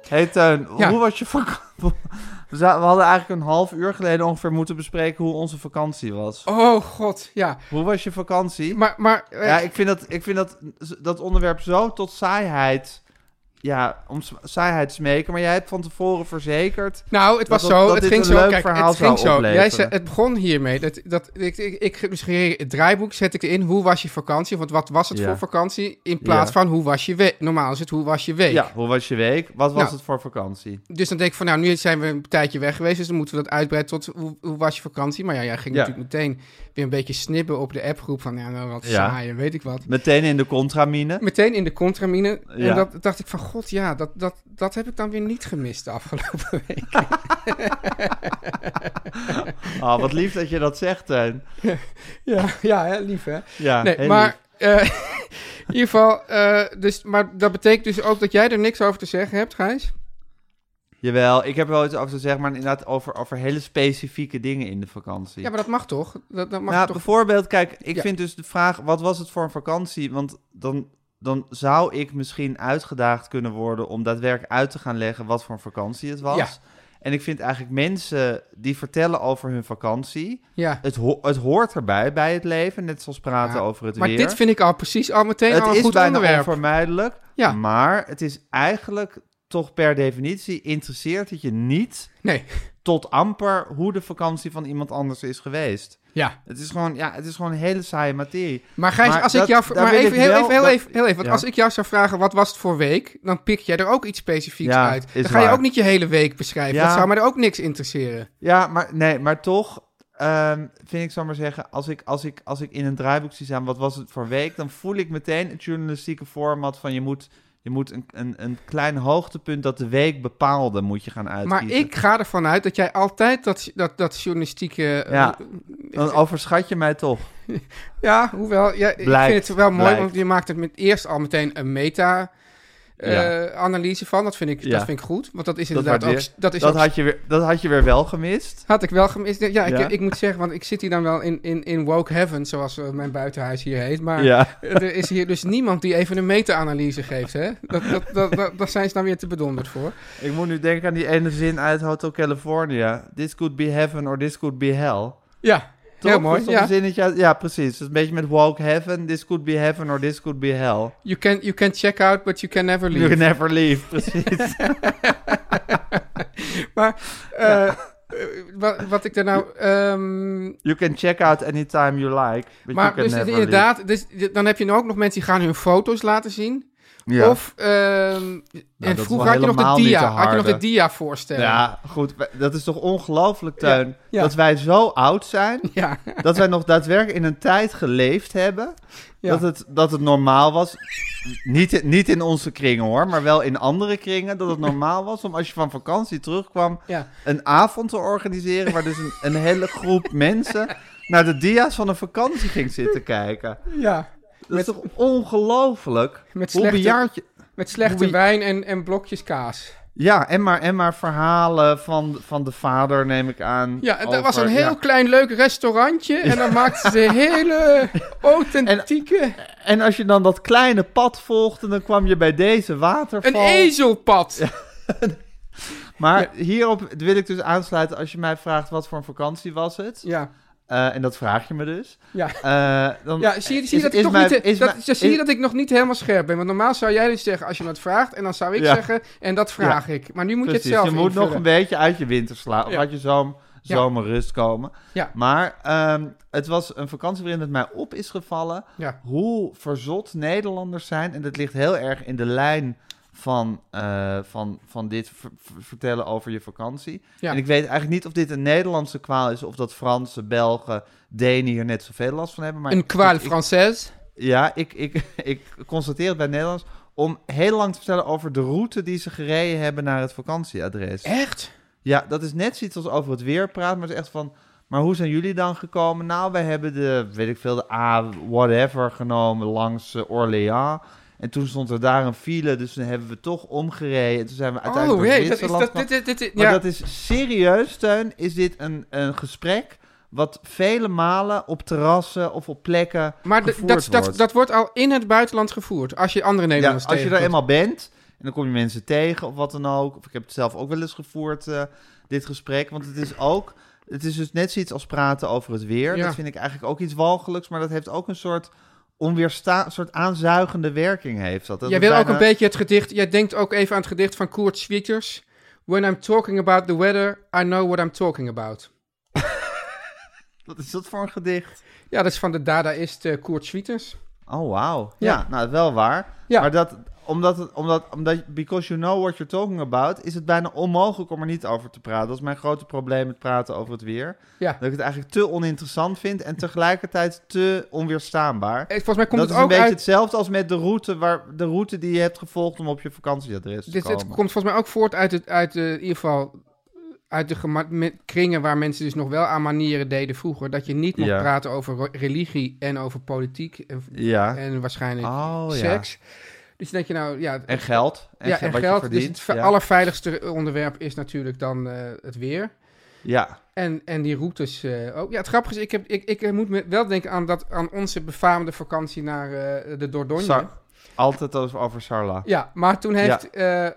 Speaker 1: Hey Teun,
Speaker 4: Ja.
Speaker 1: hoe was je vakantie? [laughs] We za- we hadden eigenlijk een half uur geleden ongeveer moeten bespreken hoe onze vakantie was.
Speaker 4: Oh god, ja.
Speaker 1: Hoe was je vakantie?
Speaker 4: Maar, maar eh,
Speaker 1: Ja, ik vind dat, ik vind dat, dat onderwerp zo tot saaiheid... Ja, om s- saaiheid smeken. Maar jij hebt van tevoren verzekerd...
Speaker 4: Nou, het
Speaker 1: Dat-
Speaker 4: was
Speaker 1: dat-
Speaker 4: zo.
Speaker 1: dat
Speaker 4: het
Speaker 1: dit
Speaker 4: ging
Speaker 1: een
Speaker 4: zo.
Speaker 1: leuk
Speaker 4: Kijk,
Speaker 1: verhaal
Speaker 4: het
Speaker 1: zou
Speaker 4: ging zo.
Speaker 1: opleveren.
Speaker 4: Jij zei, het begon hiermee. Dat, dat, ik, ik, ik dus ging- het draaiboek zet ik erin. Hoe was je vakantie? Want wat was het
Speaker 1: Ja.
Speaker 4: voor vakantie? In plaats
Speaker 1: Ja.
Speaker 4: van hoe was je week? Normaal is het hoe was je week.
Speaker 1: Ja, hoe was je week? Wat was
Speaker 4: Nou.
Speaker 1: het voor vakantie?
Speaker 4: Dus dan denk ik van, nou, nu zijn we een tijdje weg geweest. Dus dan moeten we dat uitbreiden tot hoe, hoe was je vakantie? Maar ja, jij ging
Speaker 1: Ja.
Speaker 4: natuurlijk meteen weer een beetje snibben op de appgroep. Van, ja, nou, wat
Speaker 1: Ja.
Speaker 4: saai, en weet ik wat.
Speaker 1: Meteen in de contramine.
Speaker 4: Meteen in de contramine.
Speaker 1: Ja.
Speaker 4: En dat dacht ik van, god ja, dat, dat, dat heb ik dan weer niet gemist de afgelopen week.
Speaker 1: Ah, wat lief dat je dat zegt, Teun.
Speaker 4: Ja, [laughs] ja hè, lief hè.
Speaker 1: Ja, heel
Speaker 4: nee, maar eh, [laughs] in ieder geval, eh, dus, maar dat betekent dus ook dat jij er niks over te zeggen hebt, Gijs.
Speaker 1: lief. Jawel, ik heb er wel iets over te zeggen, maar inderdaad over, over hele specifieke dingen in de vakantie.
Speaker 4: Ja, maar dat mag toch? Dat, dat mag
Speaker 1: nou,
Speaker 4: toch?
Speaker 1: bijvoorbeeld, kijk, ik
Speaker 4: Ja.
Speaker 1: vind dus de vraag, wat was het voor een vakantie? Want dan, dan zou ik misschien uitgedaagd kunnen worden om daadwerkelijk uit te gaan leggen wat voor een vakantie het was.
Speaker 4: Ja.
Speaker 1: En ik vind eigenlijk mensen die vertellen over hun vakantie,
Speaker 4: Ja.
Speaker 1: het, ho- het hoort erbij bij het leven, net zoals praten
Speaker 4: Ja,
Speaker 1: over het
Speaker 4: Maar
Speaker 1: weer.
Speaker 4: dit vind ik al precies al meteen al
Speaker 1: het
Speaker 4: een
Speaker 1: is
Speaker 4: goed
Speaker 1: bijna
Speaker 4: onderwerp.
Speaker 1: onvermijdelijk.
Speaker 4: Ja.
Speaker 1: Maar het is eigenlijk toch per definitie interesseert het je niet
Speaker 4: Nee,
Speaker 1: tot amper hoe de vakantie van iemand anders is geweest.
Speaker 4: ja.
Speaker 1: Het is gewoon, ja, het is gewoon een hele saaie materie.
Speaker 4: Maar Gijs,
Speaker 1: Maar
Speaker 4: als ik
Speaker 1: dat-
Speaker 4: jou...
Speaker 1: daar
Speaker 4: Maar
Speaker 1: wil
Speaker 4: even,
Speaker 1: ik
Speaker 4: heel,
Speaker 1: wel-
Speaker 4: even, heel
Speaker 1: dat-
Speaker 4: even, heel even. Want
Speaker 1: Ja.
Speaker 4: als ik jou zou vragen, wat was het voor week? Dan pik jij er ook iets specifieks
Speaker 1: Ja,
Speaker 4: uit. Dan
Speaker 1: is
Speaker 4: ga je
Speaker 1: waar.
Speaker 4: ook niet je hele week beschrijven.
Speaker 1: Ja.
Speaker 4: Dat zou mij er ook niks interesseren.
Speaker 1: Ja, maar nee, maar toch ehm, vind ik, zal maar zeggen, als ik, als, ik, als ik in een draaiboek zie staan, wat was het voor week, dan voel ik meteen het journalistieke format van je moet, je moet een, een, een klein hoogtepunt dat de week bepaalde, moet je gaan
Speaker 4: Maar
Speaker 1: uitkiezen.
Speaker 4: ik ga ervan uit dat jij altijd dat, dat, dat journalistieke... eh,
Speaker 1: Ja. Dan overschat je mij toch.
Speaker 4: Ja, hoewel, ja, ik
Speaker 1: Blijkt,
Speaker 4: vind het wel mooi,
Speaker 1: blijkt.
Speaker 4: want je maakt het met, eerst al meteen een meta. eh,
Speaker 1: Ja.
Speaker 4: analyse van. Dat vind, ik,
Speaker 1: Ja.
Speaker 4: dat vind ik goed. Want dat is
Speaker 1: Dat
Speaker 4: inderdaad
Speaker 1: waardeer-
Speaker 4: ook... Dat, is
Speaker 1: Dat
Speaker 4: ook-
Speaker 1: had, Dus je weer, dat had je weer wel gemist.
Speaker 4: had ik wel gemist. Ja, ik,
Speaker 1: Ja.
Speaker 4: ik moet zeggen, want ik zit hier dan wel in, in, in woke heaven, zoals eh, mijn buitenhuis hier heet. Maar
Speaker 1: Ja.
Speaker 4: er is hier dus niemand die even een meta-analyse geeft, hè? Dat, dat, dat, dat, daar zijn ze dan weer te bedonderd voor.
Speaker 1: Ik moet nu denken aan die ene zin uit Hotel California. This could be heaven or this could be hell.
Speaker 4: Ja,
Speaker 1: Toch?
Speaker 4: heel mooi.
Speaker 1: Zo'n
Speaker 4: Ja.
Speaker 1: zinnetje uit- ja, precies. Dus een beetje met walk heaven. This could be heaven or this could be hell.
Speaker 4: You, can, you can check out, but you can never leave.
Speaker 1: You never leave, [laughs] precies.
Speaker 4: Maar eh, eh, wat, wat ik daar nou... ehm,
Speaker 1: you can check out anytime you like, but you
Speaker 4: maar
Speaker 1: can
Speaker 4: dus
Speaker 1: never
Speaker 4: inderdaad, dus, dan heb je nou ook nog mensen die gaan hun foto's laten zien.
Speaker 1: leave. Ja.
Speaker 4: Of, ehm, en
Speaker 1: Nou, wel
Speaker 4: vroeger had je, nog
Speaker 1: helemaal
Speaker 4: de
Speaker 1: niet
Speaker 4: dia,
Speaker 1: te
Speaker 4: had je nog de
Speaker 1: harde.
Speaker 4: dia voorstellen.
Speaker 1: ja, goed. wij- Dat is toch ongelooflijk, Teun?
Speaker 4: ja.
Speaker 1: Dat wij zo oud zijn,
Speaker 4: Ja.
Speaker 1: dat wij nog daadwerkelijk in een tijd geleefd hebben...
Speaker 4: Ja.
Speaker 1: Dat, het, dat het normaal was, niet, niet in onze kringen hoor, maar wel in andere kringen, dat het normaal was om als je van vakantie terugkwam
Speaker 4: [laughs] Ja.
Speaker 1: een avond te organiseren waar dus een, een hele groep mensen naar de dia's van een vakantie ging zitten kijken.
Speaker 4: ja.
Speaker 1: Dat is toch ongelooflijk?
Speaker 4: met
Speaker 1: Hoe
Speaker 4: slechte-
Speaker 1: bejaard je-
Speaker 4: Met slechte
Speaker 1: Wie-
Speaker 4: wijn en, en blokjes kaas.
Speaker 1: Ja, en maar, en maar verhalen van, van de vader neem ik aan.
Speaker 4: Ja, en
Speaker 1: over-
Speaker 4: dat was een heel
Speaker 1: ja.
Speaker 4: klein leuk restaurantje. En dan
Speaker 1: [laughs]
Speaker 4: maakten ze hele authentieke...
Speaker 1: En als je dan dat kleine pad volgde, dan kwam je bij deze waterval.
Speaker 4: een ezelpad.
Speaker 1: Maar hierop wil ik dus aansluiten als je mij vraagt wat voor een vakantie was het.
Speaker 4: Ja.
Speaker 1: Eh, en dat vraag je me dus.
Speaker 4: Ja.
Speaker 1: Eh, dan
Speaker 4: Ja, zie je, zie je
Speaker 1: is-
Speaker 4: dat ik
Speaker 1: is
Speaker 4: toch
Speaker 1: mijn-
Speaker 4: niet, eh,
Speaker 1: is
Speaker 4: dat,
Speaker 1: mijn-
Speaker 4: zo zie je
Speaker 1: is-
Speaker 4: dat ik nog niet helemaal scherp ben? Want normaal zou jij dus zeggen, als je me het vraagt, en dan zou ik
Speaker 1: Ja.
Speaker 4: zeggen, en dat vraag ik. Maar nu moet
Speaker 1: precies,
Speaker 4: je het zelf
Speaker 1: moet nog een
Speaker 4: invullen.
Speaker 1: beetje uit je winter slaan. Of
Speaker 4: Ja.
Speaker 1: uit je zomer,
Speaker 4: Ja.
Speaker 1: zomerrust komen.
Speaker 4: Ja.
Speaker 1: Maar ehm, het was een vakantie waarin het mij op is gevallen
Speaker 4: Ja.
Speaker 1: hoe verzot Nederlanders zijn. En dat ligt heel erg in de lijn van, eh, van, van dit ver- ver- vertellen over je vakantie.
Speaker 4: Ja.
Speaker 1: En ik weet eigenlijk niet of dit een Nederlandse kwaal is... of dat Fransen, Belgen, Denen hier net zoveel last van hebben. Maar
Speaker 4: Een
Speaker 1: ik-
Speaker 4: kwaal
Speaker 1: ik-
Speaker 4: Française.
Speaker 1: Ja, ik, ik, [laughs] ik constateer het bij Nederlands om heel lang te vertellen over de route die ze gereden hebben naar het vakantieadres.
Speaker 4: Echt?
Speaker 1: Ja, dat is net zoiets als over het weer praten, maar het is echt van, maar hoe zijn jullie dan gekomen? Nou, wij hebben de, weet ik veel, de A, whatever genomen langs eh, Orléans. En toen stond er daar een file, dus toen hebben we toch omgereden. En toen zijn we
Speaker 4: Oh,
Speaker 1: uiteindelijk door
Speaker 4: hey, dat is
Speaker 1: Zwitserland
Speaker 4: dat...
Speaker 1: gekomen.
Speaker 4: Dit, dit, dit- dit-
Speaker 1: Maar
Speaker 4: ja.
Speaker 1: dat is serieus, Teun, is dit een, een gesprek wat vele malen op terrassen of op plekken
Speaker 4: Maar d-
Speaker 1: gevoerd
Speaker 4: dat, dat,
Speaker 1: wordt.
Speaker 4: dat wordt al in het buitenland gevoerd, als je andere
Speaker 1: Ja,
Speaker 4: Nederlanders
Speaker 1: als je er
Speaker 4: tegenkomt.
Speaker 1: eenmaal bent en dan kom je mensen tegen of wat dan ook. Of ik heb het zelf ook wel eens gevoerd, eh, dit gesprek. Want het is ook, het is dus net zoiets als praten over het weer.
Speaker 4: Ja.
Speaker 1: Dat vind ik eigenlijk ook iets walgelijks, maar dat heeft ook een soort onweersta, soort aanzuigende werking heeft dat. dat
Speaker 4: Jij
Speaker 1: het
Speaker 4: wil ook
Speaker 1: bijna-
Speaker 4: een beetje het gedicht... Jij denkt ook even aan het gedicht van Koert Schwieters. When I'm talking about the weather, I know what I'm talking about.
Speaker 1: Wat is dat voor een gedicht?
Speaker 4: Ja, dat is van de dadaïst eh, Koert Schwieters.
Speaker 1: Oh, wauw. Ja.
Speaker 4: Ja.
Speaker 1: nou, wel waar.
Speaker 4: Ja.
Speaker 1: Maar dat omdat, het, omdat, omdat, because you know what you're talking about, is het bijna onmogelijk om er niet over te praten. Dat is mijn grote probleem met praten over het weer.
Speaker 4: Ja.
Speaker 1: Dat ik het eigenlijk te oninteressant vind en tegelijkertijd te onweerstaanbaar.
Speaker 4: Eh, Volgens mij komt
Speaker 1: dat
Speaker 4: het
Speaker 1: is een
Speaker 4: ook
Speaker 1: beetje
Speaker 4: uit...
Speaker 1: hetzelfde als met de route, waar, de route die je hebt gevolgd om op je vakantieadres te
Speaker 4: Dit,
Speaker 1: komen.
Speaker 4: Dus het komt volgens mij ook voort uit, het, uit de, in ieder geval uit de gema- me- kringen waar mensen dus nog wel aan manieren deden vroeger. Dat je niet mocht
Speaker 1: Ja.
Speaker 4: praten over ro- religie en over politiek en,
Speaker 1: Ja.
Speaker 4: en waarschijnlijk
Speaker 1: Oh, ja.
Speaker 4: seks. Dus dan denk je nou, ja,
Speaker 1: En geld. En,
Speaker 4: ja,
Speaker 1: ge-
Speaker 4: en
Speaker 1: wat
Speaker 4: geld.
Speaker 1: je
Speaker 4: Dus
Speaker 1: verdient.
Speaker 4: het ve-
Speaker 1: ja.
Speaker 4: allerveiligste onderwerp is natuurlijk dan eh, het weer.
Speaker 1: ja.
Speaker 4: En, en die routes eh, ook. Ja, het grappige is, ik, heb, ik, ik eh, moet me wel denken aan, dat, aan onze befaamde vakantie naar eh, de Dordogne.
Speaker 1: Sar- altijd over, over Sarla.
Speaker 4: Ja, maar toen heeft eh,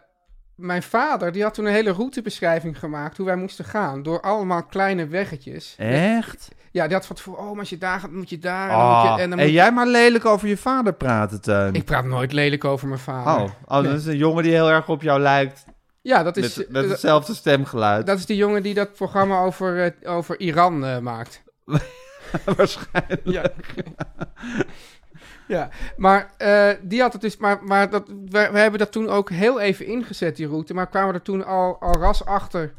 Speaker 4: mijn vader, die had toen een hele routebeschrijving gemaakt hoe wij moesten gaan. Door allemaal kleine weggetjes.
Speaker 1: Eh. Echt?
Speaker 4: Ja, die had van tevoren, oh, maar als je daar gaat, moet je daar. En dan
Speaker 1: Ah,
Speaker 4: moet je, en
Speaker 1: en
Speaker 4: dan moet je-
Speaker 1: jij maar lelijk over je vader praten, Teun.
Speaker 4: Ik praat nooit lelijk over mijn vader.
Speaker 1: Oh, oh dat is een jongen die heel erg op jou lijkt.
Speaker 4: Ja, dat is,
Speaker 1: met, met
Speaker 4: eh,
Speaker 1: hetzelfde stemgeluid. [laughs]
Speaker 4: dat is die jongen die dat programma over, eh, over Iran eh, maakt.
Speaker 1: Waarschijnlijk.
Speaker 4: Ja. [laughs] ja, maar eh, die had het dus. Maar, maar dat, we, we hebben dat toen ook heel even ingezet, die route. Maar kwamen er toen al, al ras achter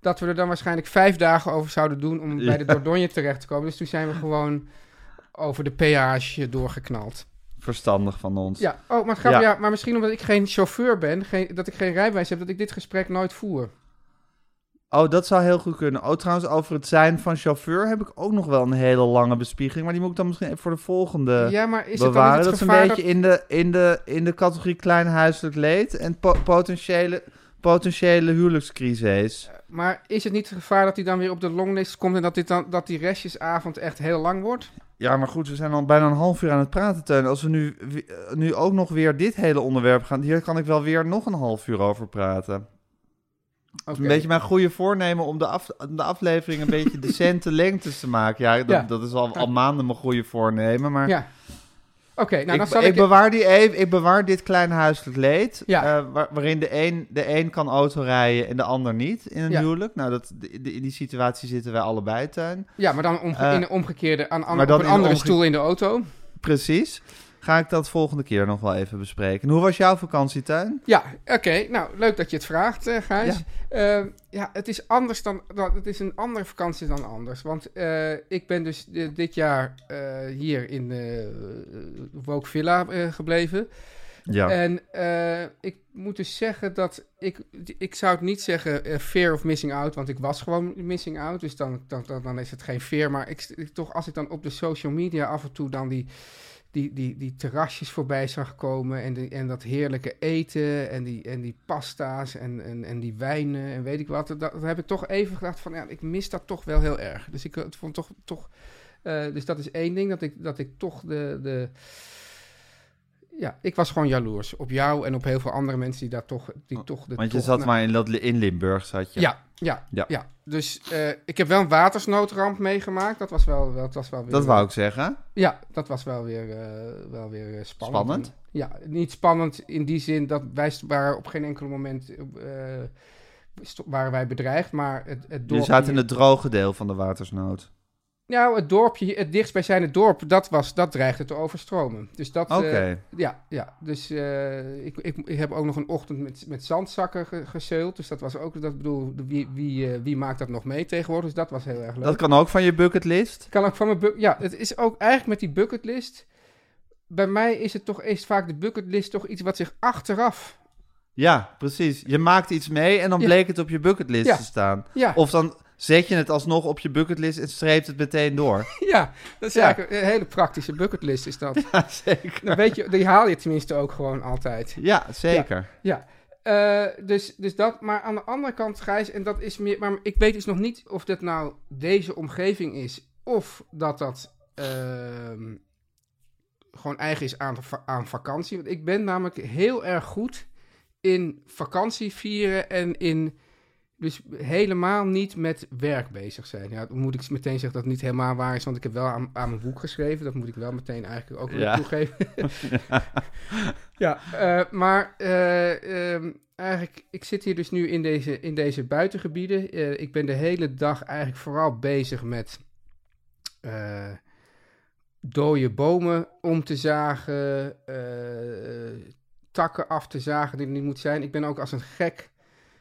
Speaker 4: dat we er dan waarschijnlijk vijf dagen over zouden doen om bij de Dordogne terecht te komen. Dus toen zijn we gewoon over de peage doorgeknald.
Speaker 1: Verstandig van ons.
Speaker 4: Ja, oh, maar, grap, ja.
Speaker 1: Ja.
Speaker 4: maar misschien omdat ik geen chauffeur ben, geen, dat ik geen rijbewijs heb, dat ik dit gesprek nooit voer.
Speaker 1: Oh, dat zou heel goed kunnen. Oh, trouwens, over het zijn van chauffeur heb ik ook nog wel een hele lange bespiegeling. Maar die moet ik dan misschien even voor de volgende
Speaker 4: ja, maar is het dan
Speaker 1: bewaren.
Speaker 4: niet het
Speaker 1: dat is een
Speaker 4: gevaar
Speaker 1: beetje in de, in, de, in de categorie klein huiselijk leed en po- potentiële, potentiële huwelijkscrisis.
Speaker 4: dat- Maar is het niet het gevaar dat hij dan weer op de longlist komt en dat, dit dan, dat die restjesavond echt heel lang wordt?
Speaker 1: Ja, maar goed, we zijn al bijna een half uur aan het praten, Teun. Als we nu, wi- eh, nu ook nog weer dit hele onderwerp gaan, hier kan ik wel weer nog een half uur over praten.
Speaker 4: Oké.
Speaker 1: Een beetje mijn goede voornemen om de, af, de aflevering een
Speaker 4: [laughs]
Speaker 1: beetje decente lengtes te maken. Ja, dat,
Speaker 4: Ja.
Speaker 1: dat is al, al maanden mijn goede voornemen, maar...
Speaker 4: Ja. Oké, nou
Speaker 1: ik,
Speaker 4: dan zal
Speaker 1: ik
Speaker 4: ik...
Speaker 1: bewaar die even, ik bewaar dit klein huiselijk leed.
Speaker 4: Ja.
Speaker 1: eh, waar- waarin de een, de een kan autorijden en de ander niet in een
Speaker 4: Ja.
Speaker 1: huwelijk. Nou, dat, de- de- in die situatie zitten wij allebei, Tuin.
Speaker 4: Ja, maar dan omge-
Speaker 1: Eh,
Speaker 4: in een omgekeerde, aan, aan,
Speaker 1: maar dan
Speaker 4: op een
Speaker 1: in de
Speaker 4: andere
Speaker 1: omge-
Speaker 4: stoel in de auto.
Speaker 1: Precies. Ga ik dat volgende keer nog wel even bespreken. En hoe was jouw vakantie, Tuin?
Speaker 4: Ja, oké. Nou, leuk dat je het vraagt, eh, Gijs.
Speaker 1: Ja.
Speaker 4: Ja. ja, het is anders dan... dan- Het is een andere vakantie dan anders. Want eh, ik ben dus eh, dit jaar eh, hier in eh Woke Villa eh, gebleven.
Speaker 1: Ja.
Speaker 4: En eh, ik moet dus zeggen dat ik, ik zou het niet zeggen eh, fear of missing out, want ik was gewoon missing out. Dus dan, dan, dan, dan is het geen fear. Maar ik, ik- toch, als ik dan op de social media af en toe dan die, die, die, die terrasjes voorbij zag komen en, die, en dat heerlijke eten en die, en die pasta's en, en, en die wijnen en weet ik wat. Dat, dat heb ik toch even gedacht van, ja, ik mis dat toch wel heel erg. Dus ik eh, vond toch, toch eh, dus dat is één ding, dat ik, dat ik toch de, de... Ja, ik was gewoon jaloers op jou en op heel veel andere mensen die daar toch... Die toch de
Speaker 1: Oh, Want je
Speaker 4: tocht
Speaker 1: zat
Speaker 4: naar-
Speaker 1: maar in, dat- in Limburg, zat je.
Speaker 4: ja, ja,
Speaker 1: Ja.
Speaker 4: ja. Dus eh, ik heb wel een watersnoodramp meegemaakt. Dat was wel, wel, dat was wel weer... eh,
Speaker 1: Dat wou ik zeggen.
Speaker 4: Ja, dat was wel weer, eh, wel weer eh, spannend.
Speaker 1: Spannend?
Speaker 4: Ja, niet spannend in die zin dat wij st- waren op geen enkel moment eh, st- waren wij bedreigd, maar het, het
Speaker 1: Je
Speaker 4: dorpje...
Speaker 1: zat in het droge deel van de watersnood.
Speaker 4: Nou, het dorpje, het dichtstbijzijnde dorp, dat, was, dat dreigde te overstromen. Dus dat... eh,
Speaker 1: Oké.
Speaker 4: ja, ja, dus eh, ik, ik, ik heb ook nog een ochtend met, met zandzakken ge, gezeild. Dus dat was ook, dat bedoel, wie, wie, eh, wie maakt dat nog mee tegenwoordig? Dus dat was heel erg leuk.
Speaker 1: dat kan ook van je bucketlist.
Speaker 4: kan ook van mijn bu- Ja, het is ook eigenlijk met die bucketlist. Bij mij is het toch is vaak de bucketlist toch iets wat zich achteraf.
Speaker 1: Ja, precies. Je maakt iets mee en dan
Speaker 4: Ja.
Speaker 1: bleek het op je bucketlist
Speaker 4: Ja.
Speaker 1: te staan.
Speaker 4: Ja,
Speaker 1: Of dan zet je het alsnog op je bucketlist en streept het meteen
Speaker 4: [laughs]
Speaker 1: door.
Speaker 4: [laughs] ja dat is
Speaker 1: Ja.
Speaker 4: eigenlijk een hele praktische bucketlist is dat.
Speaker 1: Ja, zeker.
Speaker 4: Dan weet je, die haal je tenminste ook gewoon altijd.
Speaker 1: Ja, zeker.
Speaker 4: Ja. Eh, dus, dus dat, maar aan de andere kant, Gijs, en dat is meer. Maar ik weet dus nog niet of dat nou deze omgeving is. Of dat dat ehm, gewoon eigen is aan, va- aan vakantie. Want ik ben namelijk heel erg goed in vakantie vieren en in. Dus helemaal niet met werk bezig zijn. Ja, dan moet ik meteen zeggen dat het niet helemaal waar is. Want ik heb wel aan, aan mijn boek geschreven. Dat moet ik wel meteen eigenlijk ook weer
Speaker 1: Ja.
Speaker 4: toegeven. [laughs] Ja, eh, maar eh, ehm, eigenlijk, ik zit hier dus nu in deze, in deze buitengebieden. Eh, ik ben de hele dag eigenlijk vooral bezig met eh, dode bomen om te zagen, eh, takken af te zagen die er niet moet zijn. Ik ben ook als een gek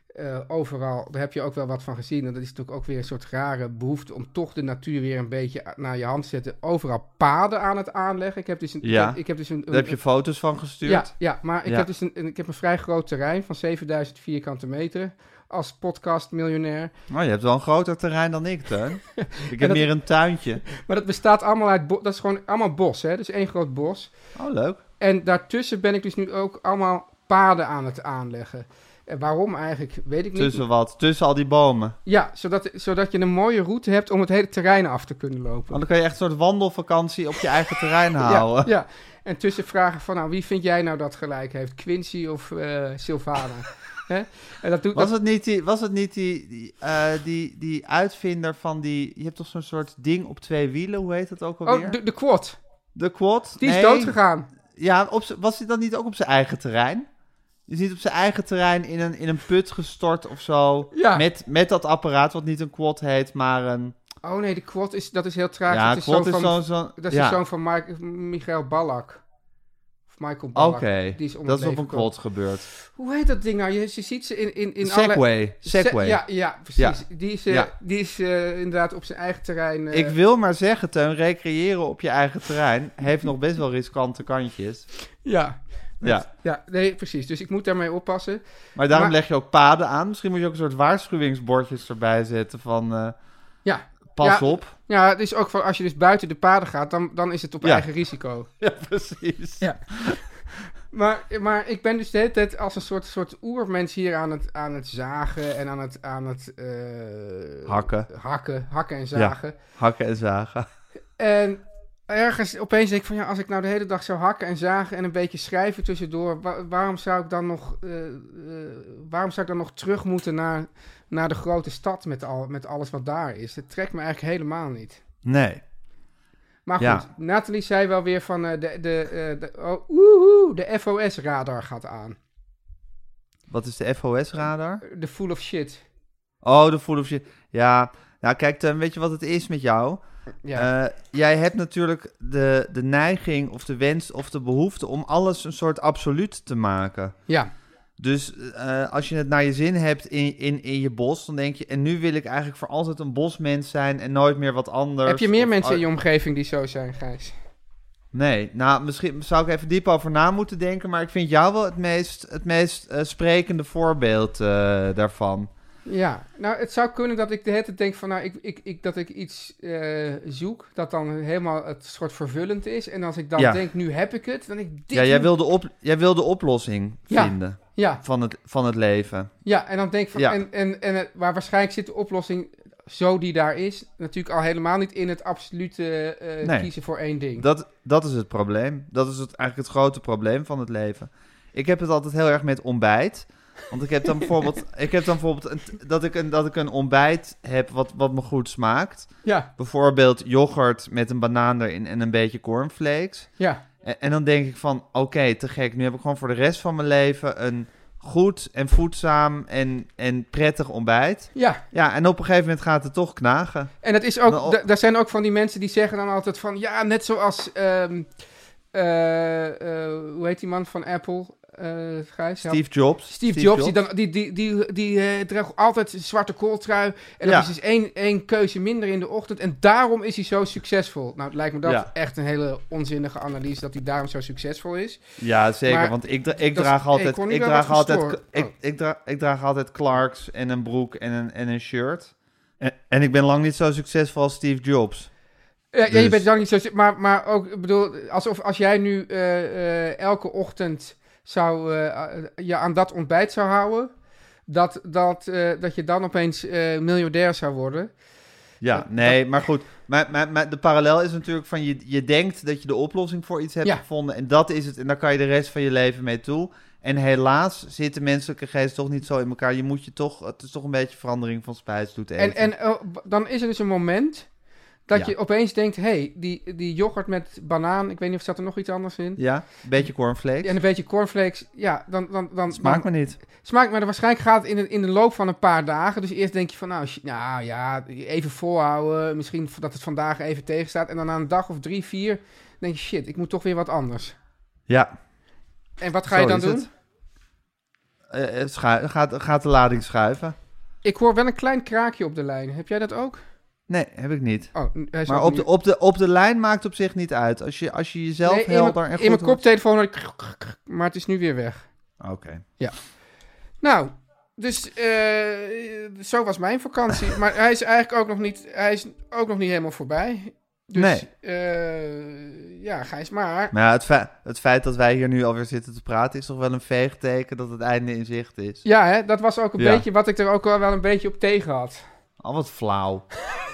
Speaker 4: eh, overal, daar heb je ook wel wat van gezien. En dat is natuurlijk ook weer een soort rare behoefte om toch de natuur weer een beetje naar je hand te zetten. Overal paden aan het aanleggen. Ik heb dus een.
Speaker 1: Ja.
Speaker 4: Ik heb, ik heb dus een,
Speaker 1: Daar heb je foto's van gestuurd.
Speaker 4: ja, ja, maar ik,
Speaker 1: Ja.
Speaker 4: Heb dus een, een- ik heb een vrij groot terrein van 7000 vierkante meter als podcastmiljonair.
Speaker 1: Nou, je hebt wel een groter terrein dan ik,
Speaker 4: [laughs]
Speaker 1: Teun. Ik heb
Speaker 4: dat-
Speaker 1: meer een tuintje.
Speaker 4: Maar dat bestaat allemaal uit, bo- dat is gewoon allemaal bos, hè? Dus één groot bos.
Speaker 1: Oh, leuk.
Speaker 4: En daartussen ben ik dus nu ook allemaal paden aan het aanleggen. En waarom eigenlijk, weet ik niet.
Speaker 1: Tussen wat? Tussen al die bomen.
Speaker 4: Ja, zodat, zodat je een mooie route hebt om het hele terrein af te kunnen lopen.
Speaker 1: Want dan kan je echt een soort wandelvakantie op je eigen terrein
Speaker 4: [laughs] ja,
Speaker 1: houden.
Speaker 4: ja, en tussen vragen van, nou, wie vind jij nou dat gelijk heeft? Quincy of eh,
Speaker 1: [laughs]
Speaker 4: Sylvana? Hè? en dat doet,
Speaker 1: Was
Speaker 4: dat,
Speaker 1: het niet, die, was het niet die, die, eh, die, die uitvinder van die... Je hebt toch zo'n soort ding op twee wielen? Hoe heet dat ook alweer?
Speaker 4: oh, de, de quad.
Speaker 1: de quad?
Speaker 4: Die is
Speaker 1: Nee.
Speaker 4: doodgegaan.
Speaker 1: Ja, op z'n- was hij dan niet ook op zijn eigen terrein? Is niet op zijn eigen terrein in een, in een put gestort of zo?
Speaker 4: Ja.
Speaker 1: Met, met dat apparaat wat niet een quad heet, maar een...
Speaker 4: Oh nee, de quad is, dat is heel traag.
Speaker 1: Ja,
Speaker 4: dat is
Speaker 1: quad
Speaker 4: zoon
Speaker 1: is
Speaker 4: van,
Speaker 1: zo'n... zo'n-
Speaker 4: Dat is
Speaker 1: ja.
Speaker 4: de zoon van Mike, Michael Ballack. Of Michael
Speaker 1: Oké,
Speaker 4: Ballack. Die om
Speaker 1: dat
Speaker 4: het
Speaker 1: is op
Speaker 4: leven
Speaker 1: een
Speaker 4: gekomen.
Speaker 1: quad gebeurd.
Speaker 4: Hoe heet dat ding nou? Je, je ziet ze in, in, in alle...
Speaker 1: Segway, Segway.
Speaker 4: Se- ja, ja, precies. Die is, eh,
Speaker 1: Ja.
Speaker 4: Die is eh, inderdaad op zijn eigen terrein... eh,
Speaker 1: Ik wil maar zeggen, Teun, recreëren op je eigen terrein heeft nog best wel riskante kantjes.
Speaker 4: Ja.
Speaker 1: Ja,
Speaker 4: Ja, nee, precies. Dus ik moet daarmee oppassen.
Speaker 1: maar daarom
Speaker 4: Maar-
Speaker 1: leg je ook paden aan. Misschien moet je ook een soort waarschuwingsbordjes erbij zetten van eh,
Speaker 4: Ja,
Speaker 1: pas
Speaker 4: Ja. [laughs]
Speaker 1: op.
Speaker 4: ja het is ook van als je dus buiten de paden gaat, dan, dan is het op
Speaker 1: Ja.
Speaker 4: eigen risico.
Speaker 1: Ja, precies.
Speaker 4: Ja. Maar, maar ik ben dus de hele tijd als een soort, soort oermens hier aan het, aan het zagen en aan het... Aan het eh,
Speaker 1: Hakken.
Speaker 4: Hakken, hakken en zagen.
Speaker 1: Hakken en zagen.
Speaker 4: En ergens opeens denk ik van ja, als ik nou de hele dag zou hakken en zagen en een beetje schrijven tussendoor, wa- waarom zou ik dan nog, eh, eh, waarom zou ik dan nog terug moeten naar, naar de grote stad met, al, met alles wat daar is? Dat trekt me eigenlijk helemaal niet.
Speaker 1: Nee.
Speaker 4: Maar goed,
Speaker 1: Ja.
Speaker 4: Nathalie zei wel weer van eh, de, de, eh, de, oh, oehoe, de FOS-radar gaat aan.
Speaker 1: Wat is de FOS-radar?
Speaker 4: De full of shit.
Speaker 1: Oh, de full of shit. Ja, nou kijk, Teun, weet je wat het is met jou?
Speaker 4: Ja.
Speaker 1: Eh, jij hebt natuurlijk de, de neiging of de wens of de behoefte om alles een soort absoluut te maken.
Speaker 4: ja,
Speaker 1: Dus eh, als je het naar je zin hebt in, in, in je bos, dan denk je... en nu wil ik eigenlijk voor altijd een bosmens zijn en nooit meer wat anders.
Speaker 4: heb je meer
Speaker 1: Of-
Speaker 4: mensen in je omgeving die zo zijn, Gijs?
Speaker 1: Nee, nou, misschien zou ik even diep over na moeten denken... maar ik vind jou wel het meest, het meest eh, sprekende voorbeeld eh, daarvan.
Speaker 4: Ja, nou het zou kunnen dat ik de hele tijd denk van nou, ik, ik, ik, dat ik iets eh, zoek dat dan helemaal het soort vervullend is. En als ik dan
Speaker 1: Ja.
Speaker 4: denk, nu heb ik het, dan denk ik dit.
Speaker 1: Ja, jij
Speaker 4: moet-
Speaker 1: wil de, op, jij wil de oplossing
Speaker 4: Ja.
Speaker 1: vinden
Speaker 4: Ja,
Speaker 1: van het, van het leven.
Speaker 4: ja, en dan denk ik van,
Speaker 1: Ja.
Speaker 4: en, en, en, eh, maar waarschijnlijk zit de oplossing zo die daar is, natuurlijk al helemaal niet in het absolute eh,
Speaker 1: Nee.
Speaker 4: kiezen voor één ding.
Speaker 1: Dat, dat is het probleem. Dat is het, eigenlijk het grote probleem van het leven. Ik heb het altijd heel erg met ontbijt. Want ik heb dan
Speaker 4: [laughs]
Speaker 1: bijvoorbeeld, ik heb dan bijvoorbeeld een- dat, ik een, dat ik een ontbijt heb wat, wat me goed smaakt.
Speaker 4: Ja,
Speaker 1: Bijvoorbeeld yoghurt met een banaan erin en een beetje cornflakes.
Speaker 4: ja,
Speaker 1: En, en dan denk ik van, oké, te gek. Nu heb ik gewoon voor de rest van mijn leven een goed en voedzaam en, en prettig ontbijt.
Speaker 4: ja.
Speaker 1: Ja, en op een gegeven moment gaat het toch knagen.
Speaker 4: En dat is ook,
Speaker 1: Nou,
Speaker 4: da- daar zijn ook van die mensen die zeggen dan altijd van, ja, net zoals, ehm, eh, eh, hoe heet die man van Apple, eh Gijs? help
Speaker 1: Steve Jobs.
Speaker 4: Steve, Jobs, die, dan, die, die, die, die eh, draagt altijd een zwarte kooltrui. En
Speaker 1: Ja.
Speaker 4: dat is dus één, één keuze minder in de ochtend. En daarom is hij zo succesvol. Nou, het lijkt me dat
Speaker 1: Ja.
Speaker 4: echt een hele onzinnige analyse dat hij daarom zo succesvol is.
Speaker 1: Ja, zeker.
Speaker 4: Maar
Speaker 1: want ik, dra- ik
Speaker 4: dat-
Speaker 1: draag
Speaker 4: hey,
Speaker 1: altijd,
Speaker 4: Connie,
Speaker 1: ik
Speaker 4: wel
Speaker 1: draag
Speaker 4: wat
Speaker 1: altijd,
Speaker 4: verstoord.
Speaker 1: ik,
Speaker 4: Oh.
Speaker 1: ik, dra- ik draag altijd Clarks en een broek en een, en een shirt. En, en ik ben lang niet zo succesvol als Steve Jobs.
Speaker 4: Eh, Ja, ja, je
Speaker 1: Dus-
Speaker 4: bent dan niet zo... Maar, maar ook, ik bedoel, alsof als jij nu eh, eh, elke ochtend zou, eh, je aan dat ontbijt zou houden... Dat, dat, eh, dat je dan opeens eh, miljardair zou worden.
Speaker 1: Ja, nee, maar goed. Maar, maar, maar de parallel is natuurlijk van je, je denkt dat je de oplossing voor iets hebt
Speaker 4: Ja.
Speaker 1: gevonden. En dat is het. En daar kan je de rest van je leven mee toe. En helaas zit de menselijke geest toch niet zo in elkaar. Je moet je toch, het is toch een beetje verandering van spijs doet eten.
Speaker 4: En, en eh, b- dan is er dus een moment dat
Speaker 1: Ja.
Speaker 4: je opeens denkt: hé, hey, die, die yoghurt met banaan, ik weet niet of zat er nog iets anders in.
Speaker 1: Ja, een beetje cornflakes.
Speaker 4: En een beetje cornflakes, ja, dan... dan, dan
Speaker 1: Smaakt me
Speaker 4: dan-
Speaker 1: niet.
Speaker 4: Smaakt me, dan waarschijnlijk gaat het in de, in de loop van een paar dagen. Dus eerst denk je van, nou, shi- nou ja, even volhouden. Misschien v- dat het vandaag even tegenstaat. En dan na een dag of drie, vier, denk je, shit, ik moet toch weer wat anders.
Speaker 1: Ja,
Speaker 4: En wat ga je
Speaker 1: Zo
Speaker 4: dan
Speaker 1: is
Speaker 4: doen?
Speaker 1: het. Eh, eh, schui- gaat, gaat de lading schuiven.
Speaker 4: Ik hoor wel een klein kraakje op de lijn. Heb jij dat ook?
Speaker 1: Nee, heb ik niet.
Speaker 4: Oh, n- hij is
Speaker 1: Maar
Speaker 4: ook
Speaker 1: op
Speaker 4: niet-
Speaker 1: de, op, de, op de lijn maakt op zich niet uit. Als je, als je jezelf
Speaker 4: Nee, in
Speaker 1: helder
Speaker 4: mijn-
Speaker 1: en goed
Speaker 4: In mijn
Speaker 1: hoort-
Speaker 4: koptelefoon hoor ik kruk, kruk, kruk, maar het is nu weer weg.
Speaker 1: Oké.
Speaker 4: Nou, dus eh, zo was mijn vakantie. maar hij is eigenlijk ook nog niet, hij is ook nog niet helemaal voorbij. Dus,
Speaker 1: Nee.
Speaker 4: eh, ja, Gijs, maar...
Speaker 1: Maar ja, het, fe- het feit dat wij hier nu alweer zitten te praten... is toch wel een veegteken dat het einde in zicht is.
Speaker 4: Ja, hè, dat was ook een
Speaker 1: Ja.
Speaker 4: beetje wat ik er ook wel wel een beetje op tegen had.
Speaker 1: Al wat flauw.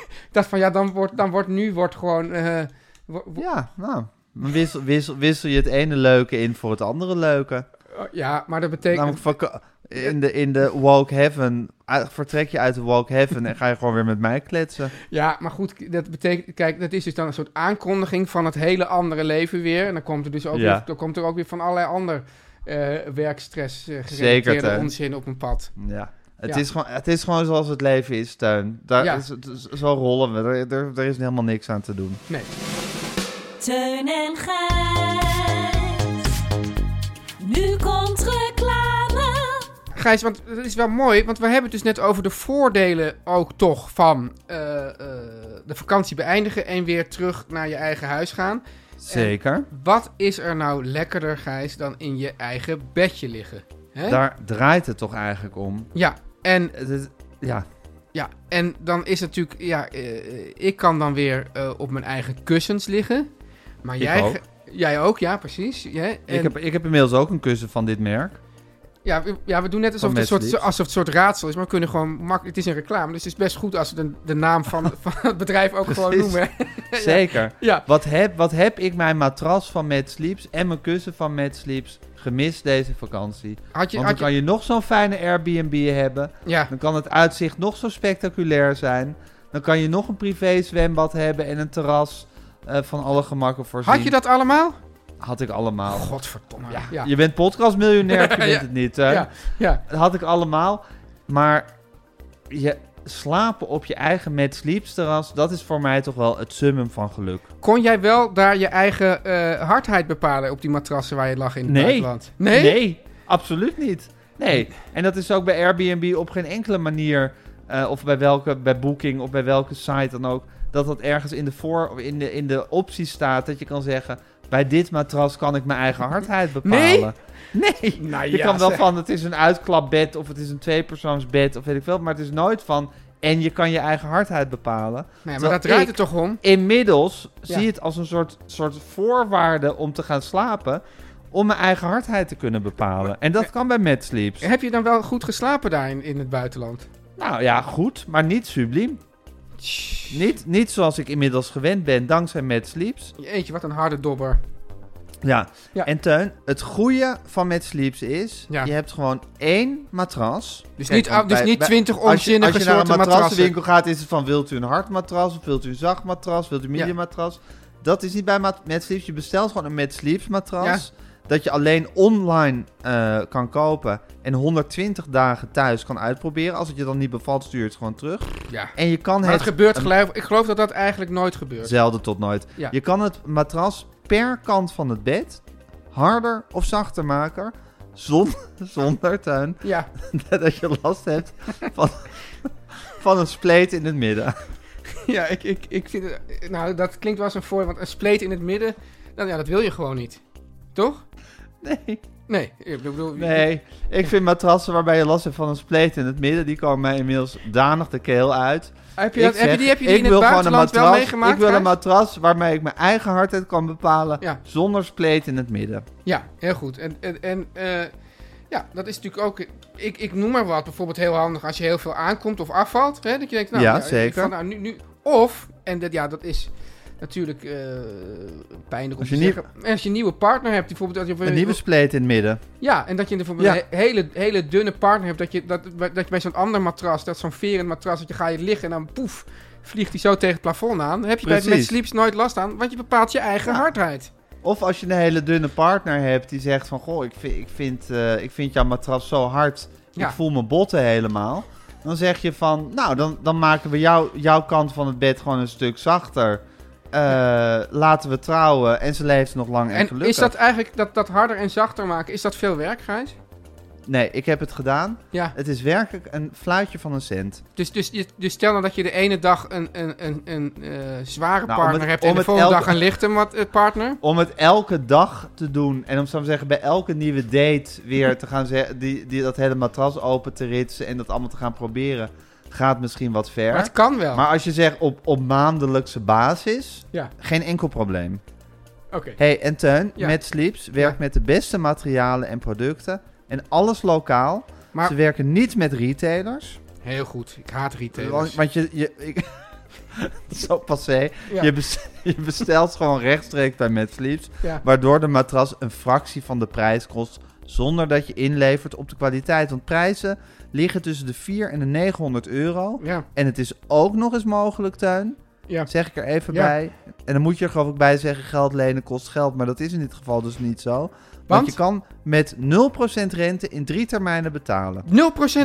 Speaker 4: Ik dacht van, ja, dan wordt, dan wordt nu wordt gewoon... eh, wo- wo-
Speaker 1: Ja, nou... Dan wissel, wissel, wissel je het ene leuke in voor het andere leuke.
Speaker 4: oh, ja. maar dat betekent...
Speaker 1: Namelijk vaka- in de, in de woke heaven... uit- vertrek je uit de woke heaven en ga je gewoon weer met mij kletsen.
Speaker 4: Ja, maar goed, dat betekent... Kijk, dat is dus dan een soort aankondiging van het hele andere leven weer. En dan komt er dus ook,
Speaker 1: Ja.
Speaker 4: weer, dan komt er ook weer van allerlei ander eh werkstress eh
Speaker 1: Zeker,
Speaker 4: gerelateerde
Speaker 1: Teun.
Speaker 4: onzin op mijn pad.
Speaker 1: Ja. Het,
Speaker 4: Ja.
Speaker 1: Is gewoon, het is gewoon zoals het leven is, Teun. Daar
Speaker 4: Ja.
Speaker 1: is, het is- zo rollen we. Er, er, er is helemaal niks aan te doen.
Speaker 4: Nee.
Speaker 6: Teun en Gijs. Nu komt reclame.
Speaker 4: Gijs, want dat is wel mooi, want we hebben het dus net over de voordelen ook toch van eh, eh, de vakantie beëindigen en weer terug naar je eigen huis gaan.
Speaker 1: Zeker.
Speaker 4: Wat is er nou lekkerder, Gijs, dan in je eigen bedje liggen? Hè?
Speaker 1: Daar draait het toch eigenlijk om.
Speaker 4: Ja, en
Speaker 1: Het is- ja,
Speaker 4: Ja, en dan is het natuurlijk, ja, eh, ik kan dan weer eh, op mijn eigen kussens liggen. Maar
Speaker 1: Ik
Speaker 4: jij,
Speaker 1: ook.
Speaker 4: jij ook, ja, precies. Ja,
Speaker 1: ik,
Speaker 4: en-
Speaker 1: heb, ik heb inmiddels ook een kussen van dit merk.
Speaker 4: ja, we, ja, we doen net alsof
Speaker 1: Van
Speaker 4: het, een soort,
Speaker 1: Metslied.
Speaker 4: alsof het een soort raadsel is, maar we kunnen gewoon makkelijk, het is een reclame, dus het is best goed als we de, de naam
Speaker 1: [laughs]
Speaker 4: van, van het bedrijf ook gewoon
Speaker 1: Precies.
Speaker 4: noemen. [laughs]
Speaker 1: Zeker.
Speaker 4: [laughs] Ja,
Speaker 1: Wat heb, wat heb ik mijn matras van Mad Sleeps en mijn kussen van Mad Sleeps gemist deze vakantie?
Speaker 4: had je,
Speaker 1: Want dan
Speaker 4: had je,
Speaker 1: kan je nog zo'n fijne Airbnb hebben.
Speaker 4: ja,
Speaker 1: Dan kan het uitzicht nog zo spectaculair zijn. Dan kan je nog een privé zwembad hebben en een terras eh, van alle gemakken voorzien. Nou.
Speaker 4: had je dat allemaal?
Speaker 1: Had ik allemaal.
Speaker 4: Godverdomme. Ja, ja,
Speaker 1: Je bent
Speaker 4: [laughs]
Speaker 1: podcastmiljonair, je bent
Speaker 4: Ja.
Speaker 1: het niet. Hè?
Speaker 4: Ja. ja.
Speaker 1: Dat had ik allemaal. Maar je slapen op je eigen Mad Sleeps terras, dat is voor mij toch wel het summum van geluk.
Speaker 4: Kon jij wel daar je eigen eh, hardheid bepalen op die matrassen waar je lag in het
Speaker 1: Nee.
Speaker 4: buitenland? Nee.
Speaker 1: absoluut niet. Nee, en dat is ook bij Airbnb op geen enkele manier, eh, of bij welke, bij Booking of bij welke site dan ook, dat dat ergens in de, voor, of in de, in de optie staat dat je kan zeggen, bij dit matras kan ik mijn eigen hardheid bepalen. Nee,
Speaker 4: Nou
Speaker 1: je
Speaker 4: ja,
Speaker 1: kan wel
Speaker 4: zeg.
Speaker 1: van, het is een uitklapbed of het is een tweepersoonsbed of weet ik veel, maar het is nooit van, en je kan je eigen hardheid bepalen.
Speaker 4: Nee, maar
Speaker 1: Terwijl
Speaker 4: daar draait
Speaker 1: ik-
Speaker 4: het toch om?
Speaker 1: Inmiddels
Speaker 4: Ja.
Speaker 1: zie je het als een soort, soort voorwaarde om te gaan slapen. Om mijn eigen hardheid te kunnen bepalen. En dat kan bij Mad Sleeps.
Speaker 4: Heb je dan wel goed geslapen daar in, in het buitenland?
Speaker 1: Nou ja, goed, maar niet subliem. Niet, niet zoals ik inmiddels gewend ben, dankzij Mad Sleeps.
Speaker 4: Eentje, wat een harde dobber.
Speaker 1: Ja.
Speaker 4: Ja.
Speaker 1: En Teun, het goede van Mad Sleeps is...
Speaker 4: Ja.
Speaker 1: je hebt gewoon één matras.
Speaker 4: Dus
Speaker 1: Kijk,
Speaker 4: niet,
Speaker 1: want
Speaker 4: dus
Speaker 1: bij-
Speaker 4: niet
Speaker 1: bij-
Speaker 4: twintig
Speaker 1: Als je,
Speaker 4: onzinnige
Speaker 1: als je naar een
Speaker 4: soorten matrassen.
Speaker 1: matrassenwinkel gaat, is het van... wilt u een hard matras, of wilt u een zacht matras, wilt u een
Speaker 4: Ja.
Speaker 1: medium matras? Dat is niet bij mat Mad Sleeps. Je bestelt gewoon een Mad Sleeps matras... dat je alleen online eh, kan kopen... en 120 dagen thuis kan uitproberen. Als het je dan niet bevalt, stuur je het gewoon terug.
Speaker 4: Ja.
Speaker 1: En je kan
Speaker 4: Maar het
Speaker 1: het...
Speaker 4: gebeurt
Speaker 1: een-
Speaker 4: geloof, ik geloof dat dat eigenlijk nooit gebeurt.
Speaker 1: Zelden tot nooit.
Speaker 4: Ja.
Speaker 1: Je kan het matras per kant van het bed... harder of zachter maken... zonder, [laughs] zonder tuin...
Speaker 4: Ja,
Speaker 1: [laughs] dat je last hebt van, van een spleet in het midden.
Speaker 4: [laughs] ja ik, ik, ik vind het, nou, dat klinkt wel eens een voor, want een spleet in het midden, nou, ja, dat wil je gewoon niet. Toch?
Speaker 1: Nee.
Speaker 4: Nee, ik bedoel...
Speaker 1: Nee, ik vind matrassen waarbij je last hebt van een spleet in het midden, die komen mij inmiddels danig de keel uit.
Speaker 4: Heb je, dat,
Speaker 1: Ik
Speaker 4: heb je
Speaker 1: zeg,
Speaker 4: die, heb je die
Speaker 1: ik
Speaker 4: in het
Speaker 1: wil gewoon een
Speaker 4: buitenland wel
Speaker 1: matras-
Speaker 4: meegemaakt?
Speaker 1: Ik wil een
Speaker 4: Gijs?
Speaker 1: matras waarmee ik mijn eigen hardheid kan bepalen,
Speaker 4: Ja.
Speaker 1: zonder spleet in het midden.
Speaker 4: Ja, heel goed. En, en, en eh, ja, dat is natuurlijk ook. Ik, ik noem maar wat, bijvoorbeeld heel handig als je heel veel aankomt of afvalt. Hè, dat je denkt, nou,
Speaker 1: Ja,
Speaker 4: ik
Speaker 1: zeker.
Speaker 4: kan nou nu, nu, of, en dat, ja, dat is natuurlijk eh, pijnlijk om
Speaker 1: Als
Speaker 4: te
Speaker 1: je nie-
Speaker 4: zeggen. En Als je een nieuwe partner hebt, die bijvoorbeeld. Dat je,
Speaker 1: Een nieuwe spleet in het midden.
Speaker 4: ja, en dat je bijvoorbeeld
Speaker 1: Ja.
Speaker 4: een he- hele, hele dunne partner hebt. Dat je, dat, dat je bij zo'n ander matras, dat zo'n verend matras, dat je gaat je liggen en dan poef. Vliegt hij zo tegen het plafond aan? Dan heb je bij het
Speaker 1: Precies.
Speaker 4: met sleeps nooit last aan, want je bepaalt je eigen hardheid.
Speaker 1: Of als je een hele dunne partner hebt die zegt van... Goh, ik vind, ik vind, eh, ik vind jouw matras zo hard,
Speaker 4: Ja.
Speaker 1: ik voel mijn botten helemaal. Dan zeg je van, nou, dan, dan maken we jou, jouw kant van het bed gewoon een stuk zachter. Eh, Laten we trouwen en ze leeft nog lang en,
Speaker 4: En
Speaker 1: gelukkig.
Speaker 4: is dat eigenlijk dat, dat harder en zachter maken, is dat veel werk, Gijs?
Speaker 1: Nee, ik heb het gedaan.
Speaker 4: Ja,
Speaker 1: Het is werkelijk een fluitje van een cent.
Speaker 4: dus, dus, je- dus stel nou dat je de ene dag een, een, een, een eh, zware
Speaker 1: Nou, om
Speaker 4: partner
Speaker 1: het-
Speaker 4: hebt en
Speaker 1: om
Speaker 4: de
Speaker 1: het
Speaker 4: volgende
Speaker 1: elke-
Speaker 4: dag een lichte mat- eh, partner.
Speaker 1: Om het elke dag te doen en om zou ik zeggen, bij elke nieuwe date weer te gaan zeggen, die, die, dat hele matras open te ritsen en dat allemaal te gaan proberen, gaat misschien wat ver.
Speaker 4: Maar het kan wel.
Speaker 1: Maar als je zegt op, op maandelijkse basis,
Speaker 4: Oh. Ja,
Speaker 1: geen enkel probleem.
Speaker 4: oké.
Speaker 1: hey, en Teun,
Speaker 4: Ja.
Speaker 1: met Sleeps werkt met de beste materialen en producten. En alles lokaal.
Speaker 4: Maar-
Speaker 1: Ze werken niet met retailers.
Speaker 4: Heel goed. Ik haat
Speaker 1: Want,
Speaker 4: retailers.
Speaker 1: want je... je ik, [laughs] zo passé.
Speaker 4: Ja.
Speaker 1: Je, bes- [laughs] je bestelt gewoon rechtstreeks bij Mad Sleeps.
Speaker 4: Ja.
Speaker 1: Waardoor de matras een fractie van de prijs kost. Zonder dat je inlevert op de kwaliteit. Want prijzen liggen tussen de 400 en de 900 euro.
Speaker 4: Ja,
Speaker 1: En het is ook nog eens mogelijk, Tuin.
Speaker 4: ja.
Speaker 1: Zeg ik er even
Speaker 4: Ja.
Speaker 1: bij. En dan moet je er geloof ik bij zeggen: geld lenen kost geld. Maar dat is in dit geval dus niet zo. Want,
Speaker 4: Want?
Speaker 1: je kan met 0% rente in drie termijnen betalen.
Speaker 4: 0%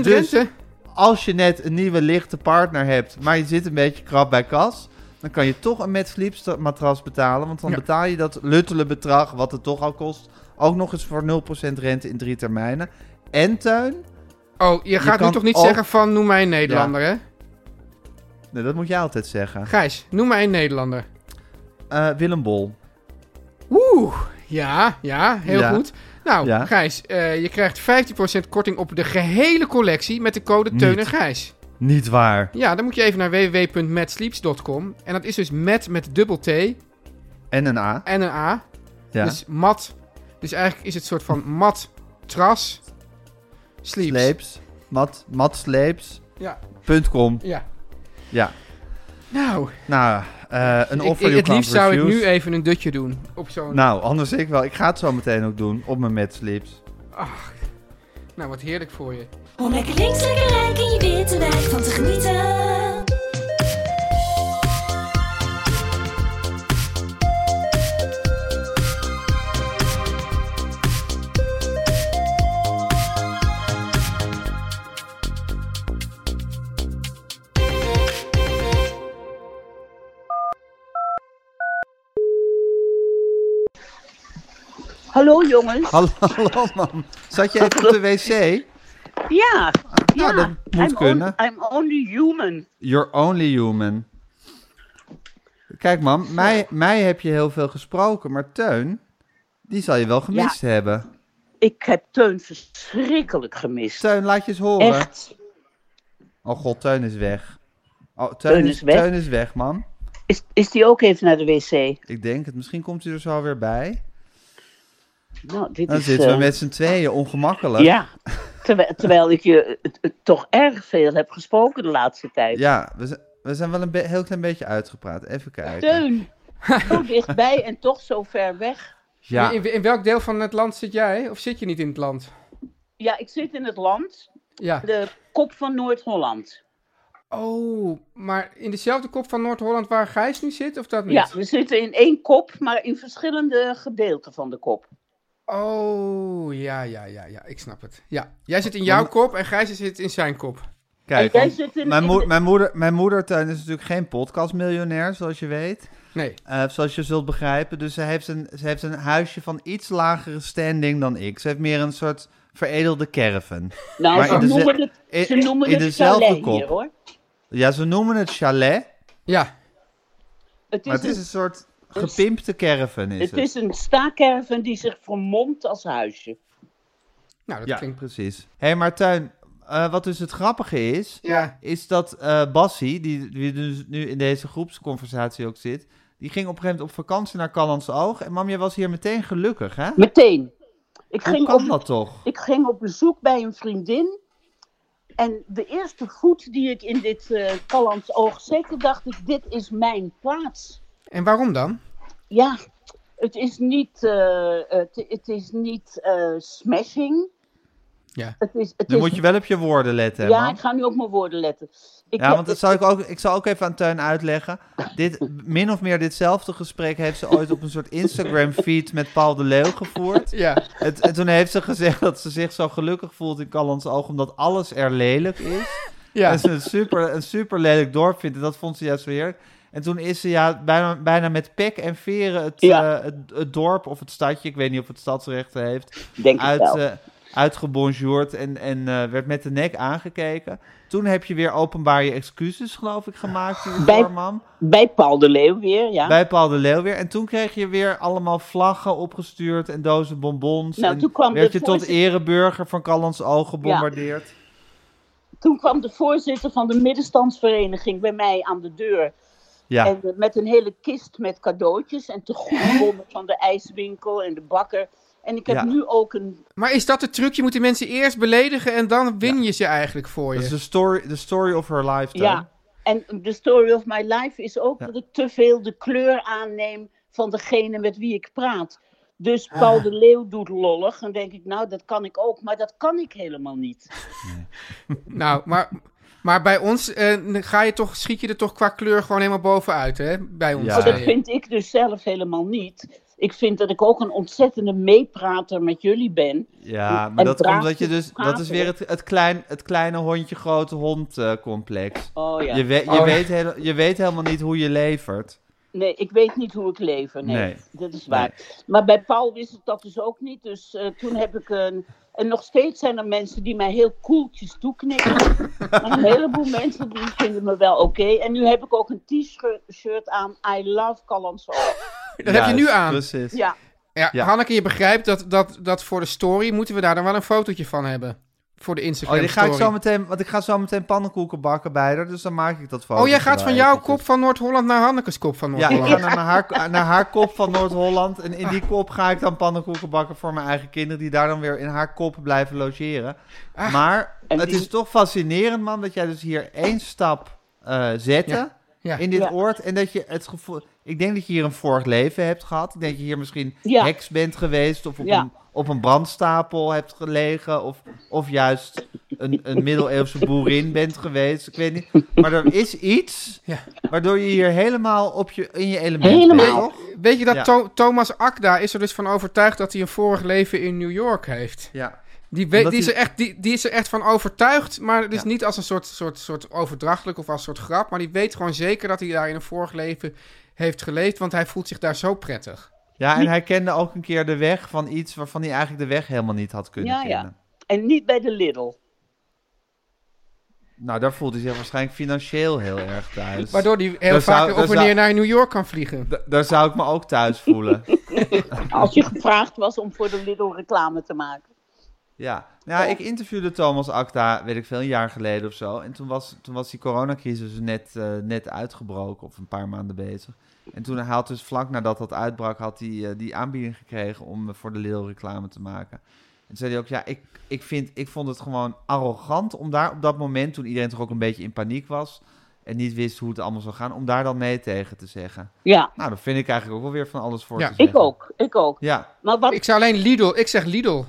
Speaker 1: Dus-
Speaker 4: rente?
Speaker 1: Als je net een nieuwe lichte partner hebt, maar je zit een beetje krap bij kas. Dan kan je toch een met Sleeps matras betalen. Want dan
Speaker 4: Ja.
Speaker 1: betaal je dat luttele bedrag, wat het toch al kost. Ook nog eens voor 0% rente in drie termijnen. En tuin.
Speaker 4: Oh, je gaat nu
Speaker 1: kan
Speaker 4: toch niet
Speaker 1: ook-
Speaker 4: zeggen van noem mij een Nederlander, hè?
Speaker 1: Nee, nou, dat moet je altijd zeggen.
Speaker 4: Gijs, noem mij een Nederlander.
Speaker 1: Eh, Willem Bol.
Speaker 4: Oeh, ja, ja, heel
Speaker 1: Ja.
Speaker 4: goed. Nou,
Speaker 1: Ja.
Speaker 4: Gijs, eh, je krijgt 15% korting op de gehele collectie met de code
Speaker 1: Niet.
Speaker 4: Teun en Gijs.
Speaker 1: Niet waar.
Speaker 4: Ja, dan moet je even naar www.matsleeps.com. En dat is dus met met dubbel T en
Speaker 1: En een A.
Speaker 4: een A.
Speaker 1: Ja.
Speaker 4: Dus mat. Dus eigenlijk is het soort van mat, tras, sleeps.
Speaker 1: sleeps. Mat, matsleeps.com.
Speaker 4: Ja, ja.
Speaker 1: Ja.
Speaker 4: Nou,
Speaker 1: Nou, eh, een
Speaker 4: ik,
Speaker 1: offer
Speaker 4: ik-
Speaker 1: you
Speaker 4: het
Speaker 1: can't
Speaker 4: liefst zou ik nu
Speaker 1: refuse.
Speaker 4: even een dutje doen. Op zo'n... Nou.
Speaker 1: Nou, anders ik wel. Ik ga het zo meteen ook doen op mijn Mad Sleeps.
Speaker 4: Nou, wat heerlijk voor je.
Speaker 6: Om lekker links, lekker rijk in je witte wijk van te genieten.
Speaker 7: Hallo
Speaker 4: [laughs]
Speaker 7: jongens.
Speaker 1: Hallo, hallo mam. Zat je even op de wc?
Speaker 7: Ja.
Speaker 1: nou,
Speaker 7: ja.
Speaker 1: dat moet
Speaker 7: I'm
Speaker 1: kunnen.
Speaker 7: on- I'm only human.
Speaker 1: You're only human. Kijk mam, mij, mij heb je heel veel gesproken, maar Teun, die zal je wel gemist hebben.
Speaker 7: Ik heb Teun verschrikkelijk gemist.
Speaker 1: Teun, laat je eens horen.
Speaker 7: Echt.
Speaker 1: Oh god, Teun is weg. Oh, Teun,
Speaker 7: Teun
Speaker 1: is,
Speaker 7: is weg?
Speaker 1: Teun is weg, mam.
Speaker 7: Is, is die ook even naar de wc?
Speaker 1: Ik denk het. Misschien komt hij er zo weer bij.
Speaker 7: Nou, dit
Speaker 1: Dan
Speaker 7: is...
Speaker 1: zitten
Speaker 7: eh,
Speaker 1: we met z'n tweeën ongemakkelijk.
Speaker 7: Ja. Terwijl, terwijl ik je eh, eh, toch erg veel heb gesproken de laatste tijd.
Speaker 1: Ja, we, zijn- we zijn wel een be- heel klein beetje uitgepraat. Even kijken.
Speaker 7: Teun. Zo dichtbij en toch zo ver weg.
Speaker 1: Ja,
Speaker 4: In, in welk deel van het land zit jij? Of zit je niet in het land?
Speaker 7: Ja, ik zit in het land.
Speaker 4: Ja.
Speaker 7: De kop van Noord-Holland.
Speaker 4: Oh, maar in dezelfde kop van Noord-Holland waar Gijs nu zit, of dat niet?
Speaker 7: Ja, we zitten in één kop, maar in verschillende gedeelten van de kop.
Speaker 4: Oh, ja, ja, ja, ja, ik snap het. Ja, jij zit in jouw kop en Gijs zit in zijn kop.
Speaker 1: kijk.
Speaker 7: En jij
Speaker 1: want
Speaker 7: zit in-
Speaker 1: mijn, moe-
Speaker 7: in de-
Speaker 1: mijn moeder, mijn moeder Teun, is natuurlijk geen podcastmiljonair, zoals je weet.
Speaker 4: Nee,
Speaker 1: Eh, zoals je zult begrijpen. Dus ze heeft, een, ze heeft een huisje van iets lagere standing dan ik. Ze heeft meer een soort veredelde caravan.
Speaker 7: Nou,
Speaker 1: Maar
Speaker 7: ze
Speaker 1: in de-
Speaker 7: noemen het,
Speaker 1: in-
Speaker 7: ze noemen
Speaker 1: in
Speaker 7: het
Speaker 1: dezelfde
Speaker 7: chalet
Speaker 1: kop.
Speaker 7: hier, hoor.
Speaker 1: Ja, ze noemen het chalet,
Speaker 4: ja,
Speaker 7: Het is,
Speaker 1: maar het is
Speaker 7: een,
Speaker 1: een soort gepimpte caravan is
Speaker 7: het
Speaker 1: het.
Speaker 7: is een staakerven die zich vermomt als huisje.
Speaker 4: nou, dat
Speaker 1: Ja,
Speaker 4: klinkt...
Speaker 1: precies. Hé, maar Teun, eh, wat dus het grappige is,
Speaker 4: Ja,
Speaker 1: is dat eh Bassie, die, die dus nu in deze groepsconversatie ook zit, die ging op een gegeven moment op vakantie naar Callans Oog. En mam, jij was hier meteen gelukkig, hè?
Speaker 7: Meteen. Ik
Speaker 1: Hoe
Speaker 7: ging,
Speaker 1: kan
Speaker 7: op,
Speaker 1: dat toch?
Speaker 7: ik ging op bezoek bij een vriendin. En de eerste voet die ik in dit eh Callands oog zette, dacht ik, dit is mijn plaats.
Speaker 4: en waarom dan?
Speaker 7: Ja, het is niet, eh, het, het is niet eh, smashing.
Speaker 4: Ja.
Speaker 7: Het is, het
Speaker 1: Nu
Speaker 7: is,
Speaker 1: moet je wel op je woorden letten, hè,
Speaker 7: ja,
Speaker 1: mam.
Speaker 7: ik ga nu op mijn woorden letten. Ik
Speaker 1: Ja,
Speaker 7: heb-
Speaker 1: want dat zal ik, ook, ik zal ook even aan Teun uitleggen. Dit, min of meer ditzelfde gesprek heeft ze ooit op een soort Instagram-feed met Paul de Leeuw gevoerd.
Speaker 4: Ja,
Speaker 1: Het, en toen heeft ze gezegd dat ze zich zo gelukkig voelt in Callans Oog, omdat alles er lelijk is.
Speaker 4: ja,
Speaker 1: En ze een super, een super lelijk dorp vindt. En dat vond ze juist zo heerlijk. En toen is ze ja, bijna, bijna met pek en veren het,
Speaker 7: Ja.
Speaker 1: eh, het, het dorp of het stadje, ik weet niet of het stadsrechten heeft,
Speaker 7: denk ik
Speaker 1: uit,
Speaker 7: wel.
Speaker 1: eh, uitgebonjourd en, en eh, werd met de nek aangekeken. Toen heb je weer openbaar je excuses, geloof ik, gemaakt
Speaker 7: Bij-
Speaker 1: hiervoor, mam.
Speaker 7: Bij Paul de Leeuw weer, ja.
Speaker 1: Bij Paul de Leeuw weer. En toen kreeg je weer allemaal vlaggen opgestuurd en dozen bonbons.
Speaker 7: Nou,
Speaker 1: en
Speaker 7: toen kwam
Speaker 1: werd
Speaker 7: de
Speaker 1: je tot
Speaker 7: voorzitter-
Speaker 1: ereburger van Callans Oog gebombardeerd.
Speaker 7: Toen kwam de voorzitter van de middenstandsvereniging bij mij aan de deur.
Speaker 1: Ja,
Speaker 7: En eh, met een hele kist met cadeautjes en te goedkomen van de ijswinkel en de bakker. En ik heb
Speaker 1: Ja.
Speaker 7: nu ook een...
Speaker 4: maar is dat de truc? Je moet de mensen eerst beledigen en dan win je ze eigenlijk voor
Speaker 1: dat is
Speaker 4: je.
Speaker 1: de story, de story of her life, Teun.
Speaker 7: Ja, en de story of my life is ook
Speaker 1: Ja.
Speaker 7: dat ik te veel de kleur aanneem van degene met wie ik praat. Dus
Speaker 1: Ah.
Speaker 7: Paul de Leeuw doet lollig. Dan denk ik, nou, dat kan ik ook. Maar dat kan ik helemaal niet.
Speaker 4: Nou, maar, maar bij ons eh, ga je toch, schiet je er toch qua kleur gewoon helemaal bovenuit, hè? Bij ons.
Speaker 1: Ja.
Speaker 7: Maar
Speaker 1: Oh,
Speaker 7: dat
Speaker 4: tweeën.
Speaker 7: vind ik dus zelf helemaal niet. Ik vind dat ik ook een ontzettende meeprater met jullie ben.
Speaker 1: Ja,
Speaker 7: En
Speaker 1: maar dat komt
Speaker 7: braaf
Speaker 1: dat je
Speaker 7: te
Speaker 1: dus... Dat
Speaker 7: praten.
Speaker 1: is weer het, het, klein, het kleine hondje grote hond eh, complex.
Speaker 7: Oh ja.
Speaker 1: Je, we- je,
Speaker 4: Oh, ja.
Speaker 1: weet heel- je weet helemaal niet hoe je levert.
Speaker 7: Nee, ik weet niet hoe ik leef. Nee,
Speaker 1: Nee.
Speaker 7: dat is waar. Maar bij Paul wist ik dat dus ook niet. Dus eh, toen heb ik een. En nog steeds zijn er mensen die mij heel koeltjes
Speaker 1: [laughs]
Speaker 7: toeknikken. maar een heleboel mensen die vinden me wel oké. En nu heb ik ook een t-shirt aan I love Callanso.
Speaker 4: Dat heb je nu aan.
Speaker 1: Precies.
Speaker 7: Ja,
Speaker 4: Ja,
Speaker 1: Ja.
Speaker 4: Hanneke, je begrijpt dat, dat, dat voor de story moeten we daar dan wel een fotootje van hebben. Voor de
Speaker 1: Oh,
Speaker 4: Instagram
Speaker 1: die ga ik
Speaker 4: story.
Speaker 1: zo meteen, want ik ga zo meteen pannenkoeken bakken bij haar, dus dan maak ik dat foto.
Speaker 4: oh, jij gaat van jouw kop van Noord-Holland naar Hanneke's kop van
Speaker 1: Ja, ik
Speaker 4: Noord-Holland.
Speaker 1: ga naar haar, naar haar kop van Noord-Holland. En in die
Speaker 7: Ah.
Speaker 1: kop ga ik dan pannenkoeken bakken voor mijn eigen kinderen. Die daar dan weer in haar kop blijven logeren. Maar
Speaker 7: Ah. En
Speaker 1: het
Speaker 7: die-
Speaker 1: is toch fascinerend, man. Dat jij dus hier één stap eh zette
Speaker 4: Ja. Ja.
Speaker 1: in dit
Speaker 7: Ja.
Speaker 1: oord. En dat je het gevoel... Ik denk dat je hier een vorig leven hebt gehad. Ik denk dat je hier misschien
Speaker 7: Ja.
Speaker 1: heks bent geweest. Of op,
Speaker 7: Ja.
Speaker 1: een, op een brandstapel hebt gelegen. Of, of juist een, een middeleeuwse boerin bent geweest. Ik weet niet. Maar er is iets...
Speaker 4: Ja.
Speaker 1: Waardoor je hier helemaal op je, in je element bent,
Speaker 7: Helemaal.
Speaker 1: toch?
Speaker 4: Weet je dat
Speaker 1: Ja.
Speaker 4: Tho- Thomas Akda is er dus van overtuigd dat hij een vorig leven in New York heeft?
Speaker 1: Ja.
Speaker 4: Die, weet,
Speaker 1: Omdat
Speaker 4: die, is er
Speaker 1: hij-
Speaker 4: echt, die, die is er echt van overtuigd, maar het is
Speaker 1: Ja.
Speaker 4: niet als een soort, soort, soort overdrachtelijk of als een soort grap. Maar die weet gewoon zeker dat hij daar in een vorig leven heeft geleefd, want hij voelt zich daar zo prettig.
Speaker 1: ja, en hij kende ook een keer de weg van iets waarvan hij eigenlijk de weg helemaal niet had kunnen
Speaker 7: Ja, ja.
Speaker 1: kennen.
Speaker 7: En niet bij de Lidl.
Speaker 1: Nou, daar voelt hij zich waarschijnlijk financieel heel erg thuis.
Speaker 4: Waardoor hij heel
Speaker 1: Daar zou-
Speaker 4: vaak weer op
Speaker 1: daar
Speaker 4: en neer
Speaker 1: zou-
Speaker 4: naar New York kan vliegen.
Speaker 1: Da- daar zou ik me ook thuis voelen.
Speaker 7: Als je gevraagd was om voor de Lidl reclame te maken.
Speaker 1: ja. Nou, ik interviewde Thomas Acta, weet ik veel, een jaar geleden of zo. En toen was, toen was die coronacrisis net, eh, net uitgebroken of een paar maanden bezig. En toen hij had dus vlak nadat dat uitbrak, had hij eh, die aanbieding gekregen om eh, voor de Lidl reclame te maken. En toen zei hij ook, ja, ik, ik, vind, ik vond het gewoon arrogant om daar op dat moment, toen iedereen toch ook een beetje in paniek was en niet wist hoe het allemaal zou gaan, om daar dan nee tegen te zeggen.
Speaker 7: Ja,
Speaker 1: Nou, daar vind ik eigenlijk ook wel weer van alles voor
Speaker 4: Ja.
Speaker 1: te zeggen.
Speaker 7: ik ook. Ik ook.
Speaker 1: Ja,
Speaker 7: Maar wat...
Speaker 4: Ik zou alleen Lidl, ik zeg Lidl.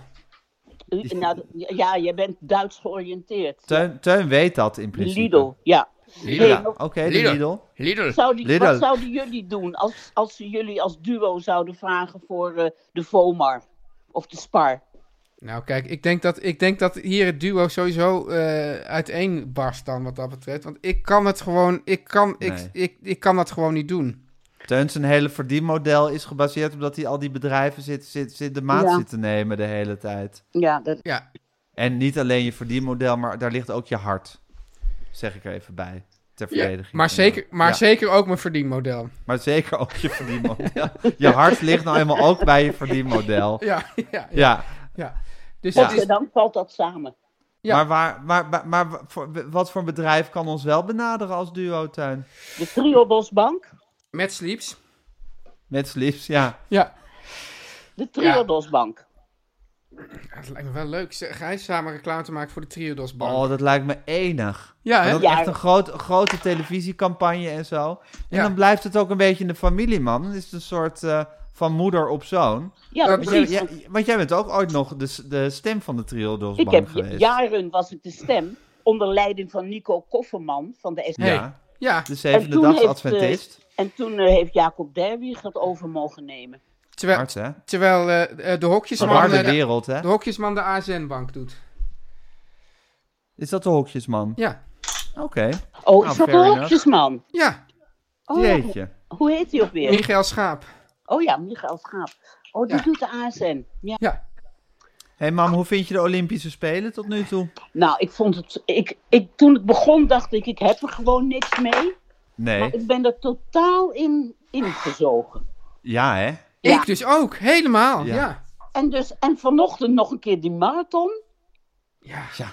Speaker 7: nou, ja, je bent Duits georiënteerd.
Speaker 1: Teun, Teun weet dat in principe.
Speaker 7: Lidl, ja. Nee,
Speaker 1: Ja,
Speaker 7: maar
Speaker 1: oké, de
Speaker 4: Lidl.
Speaker 1: Lidl.
Speaker 4: Lidl.
Speaker 7: zouden-
Speaker 1: Lidl.
Speaker 7: Wat zouden jullie doen als, als ze jullie als duo zouden vragen voor eh, de Vomar of de Spar?
Speaker 4: Nou kijk, ik denk dat, ik denk dat hier het duo sowieso eh uiteenbarst dan wat dat betreft. Want ik kan het gewoon, ik kan,
Speaker 1: Nee.
Speaker 4: ik, ik, ik kan dat gewoon niet doen.
Speaker 1: Teun zijn hele verdienmodel is gebaseerd op dat hij al die bedrijven zit, zit, zit de maat
Speaker 7: Ja.
Speaker 1: zit te nemen de hele tijd.
Speaker 7: Ja, dat,
Speaker 4: Ja,
Speaker 1: En niet alleen je verdienmodel, maar daar ligt ook je hart. Zeg ik er even bij. Ter verdediging.
Speaker 4: maar, zeker, maar
Speaker 1: Ja,
Speaker 4: zeker ook mijn verdienmodel. [laughs]
Speaker 1: maar zeker ook je verdienmodel. je hart ligt nou eenmaal ook bij je verdienmodel.
Speaker 4: Ja, ja, ja.
Speaker 1: Ja,
Speaker 4: Dus
Speaker 1: Ja.
Speaker 4: het is,
Speaker 7: dan valt dat samen.
Speaker 4: Ja.
Speaker 1: maar, waar, maar, maar, maar wa- voor- wat voor bedrijf kan ons wel benaderen als duo, Teun?
Speaker 7: De Triodosbank?
Speaker 4: met Sleeps.
Speaker 1: Met Sleeps, ja.
Speaker 4: Ja.
Speaker 7: De Triodosbank.
Speaker 4: Het lijkt me wel leuk. Ze- Ga je samen reclame te maken voor de Triodos Bank?
Speaker 1: Oh, dat lijkt me enig.
Speaker 4: ja, hè?
Speaker 1: En dat
Speaker 7: Ja.
Speaker 1: echt een groot, grote televisiecampagne en zo. En
Speaker 4: Ja.
Speaker 1: dan blijft het ook een beetje in de familie, man. Dan is het een soort eh, van moeder op zoon.
Speaker 7: Ja,
Speaker 4: Dat-
Speaker 1: Want jij,
Speaker 7: precies.
Speaker 1: jij- want jij bent ook ooit nog de, s- de stem van de
Speaker 7: ik
Speaker 1: Triodosbank
Speaker 7: heb
Speaker 1: geweest.
Speaker 7: jaren was ik de stem onder leiding van Nico Kofferman van de SP.
Speaker 1: Ja,
Speaker 4: Ja,
Speaker 1: de
Speaker 7: En
Speaker 1: zevende
Speaker 7: toen
Speaker 1: dags
Speaker 7: heeft,
Speaker 1: Adventist.
Speaker 7: eh, en toen eh, heeft Jacob Derwieg het over mogen nemen.
Speaker 4: terwijl,
Speaker 1: Hard, hè?
Speaker 4: terwijl eh, eh, de,
Speaker 1: Een
Speaker 4: hokjesman,
Speaker 1: harde
Speaker 4: eh, de,
Speaker 1: wereld, hè?
Speaker 4: de hokjesman de ASN-bank doet.
Speaker 1: Is dat de hokjesman?
Speaker 4: Ja,
Speaker 1: Oké,
Speaker 7: Oh,
Speaker 1: Nou,
Speaker 7: is dat
Speaker 1: fair enough.
Speaker 7: Hoogjesman?
Speaker 4: ja.
Speaker 7: Oh, ja.
Speaker 1: jeetje.
Speaker 7: Hoe heet hij ook weer?
Speaker 4: Michael Schaap.
Speaker 7: Oh ja, Michael Schaap. Oh, die
Speaker 4: Ja.
Speaker 7: doet de ASN. Ja.
Speaker 4: Ja,
Speaker 1: Hé hey, mam, hoe vind je de Olympische Spelen tot nu toe?
Speaker 7: Nou, ik vond het... Ik, ik, toen het begon dacht ik, ik heb er gewoon niks mee. Maar
Speaker 1: Nee.
Speaker 7: ik ben er totaal in ingezogen.
Speaker 1: Ja, hè?
Speaker 7: Ja.
Speaker 4: ik dus ook. Helemaal,
Speaker 1: Ja.
Speaker 4: ja. ja.
Speaker 7: En, dus, en vanochtend nog een keer die marathon.
Speaker 4: Ja.
Speaker 1: Ja.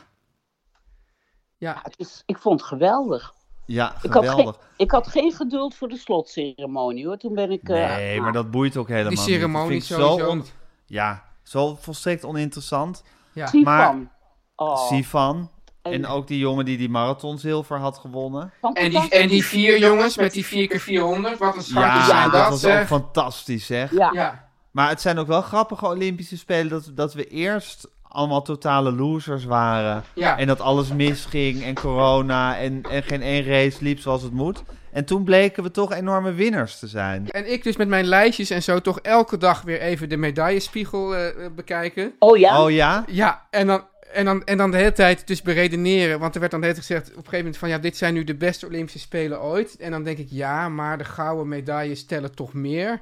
Speaker 4: Ja.
Speaker 7: Het is, ik vond het geweldig.
Speaker 1: Ja,
Speaker 7: Ik had, geen,
Speaker 1: geweldig.
Speaker 7: ik had geen geduld voor de slotceremonie hoor. Toen ben ik... eh,
Speaker 1: Nee, maar dat boeit ook helemaal
Speaker 4: Die
Speaker 1: niet.
Speaker 4: ceremonie
Speaker 1: Dat vind ik
Speaker 4: sowieso.
Speaker 1: Zo on... Ja, zo volstrekt oninteressant.
Speaker 4: Ja.
Speaker 7: Sifan.
Speaker 1: maar-
Speaker 7: Oh,
Speaker 1: Sifan.
Speaker 7: En-
Speaker 1: En ook die jongen die die marathon zilver had gewonnen.
Speaker 4: En,
Speaker 7: fantastisch.
Speaker 4: die, en die vier jongens met die 4x400, wat een schatjes
Speaker 1: Ja,
Speaker 4: zijn
Speaker 1: dat
Speaker 4: dat,
Speaker 1: was ook
Speaker 4: zeg.
Speaker 1: fantastisch, zeg.
Speaker 7: Ja.
Speaker 4: Ja,
Speaker 1: Maar het zijn ook wel grappige Olympische Spelen dat, dat we eerst allemaal totale losers waren.
Speaker 4: ja.
Speaker 1: En dat alles misging en corona en, en geen één race liep zoals het moet. En toen bleken we toch enorme winnaars te zijn.
Speaker 4: En ik dus met mijn lijstjes en zo toch elke dag weer even de medaillespiegel eh, eh, bekijken.
Speaker 7: Oh ja?
Speaker 1: Oh ja?
Speaker 4: Ja, en dan, en, dan, en dan de hele tijd dus beredeneren. Want er werd dan de hele tijd gezegd op een gegeven moment van... ja, dit zijn nu de beste Olympische Spelen ooit. En dan denk ik, ja, maar de gouden medailles tellen toch meer.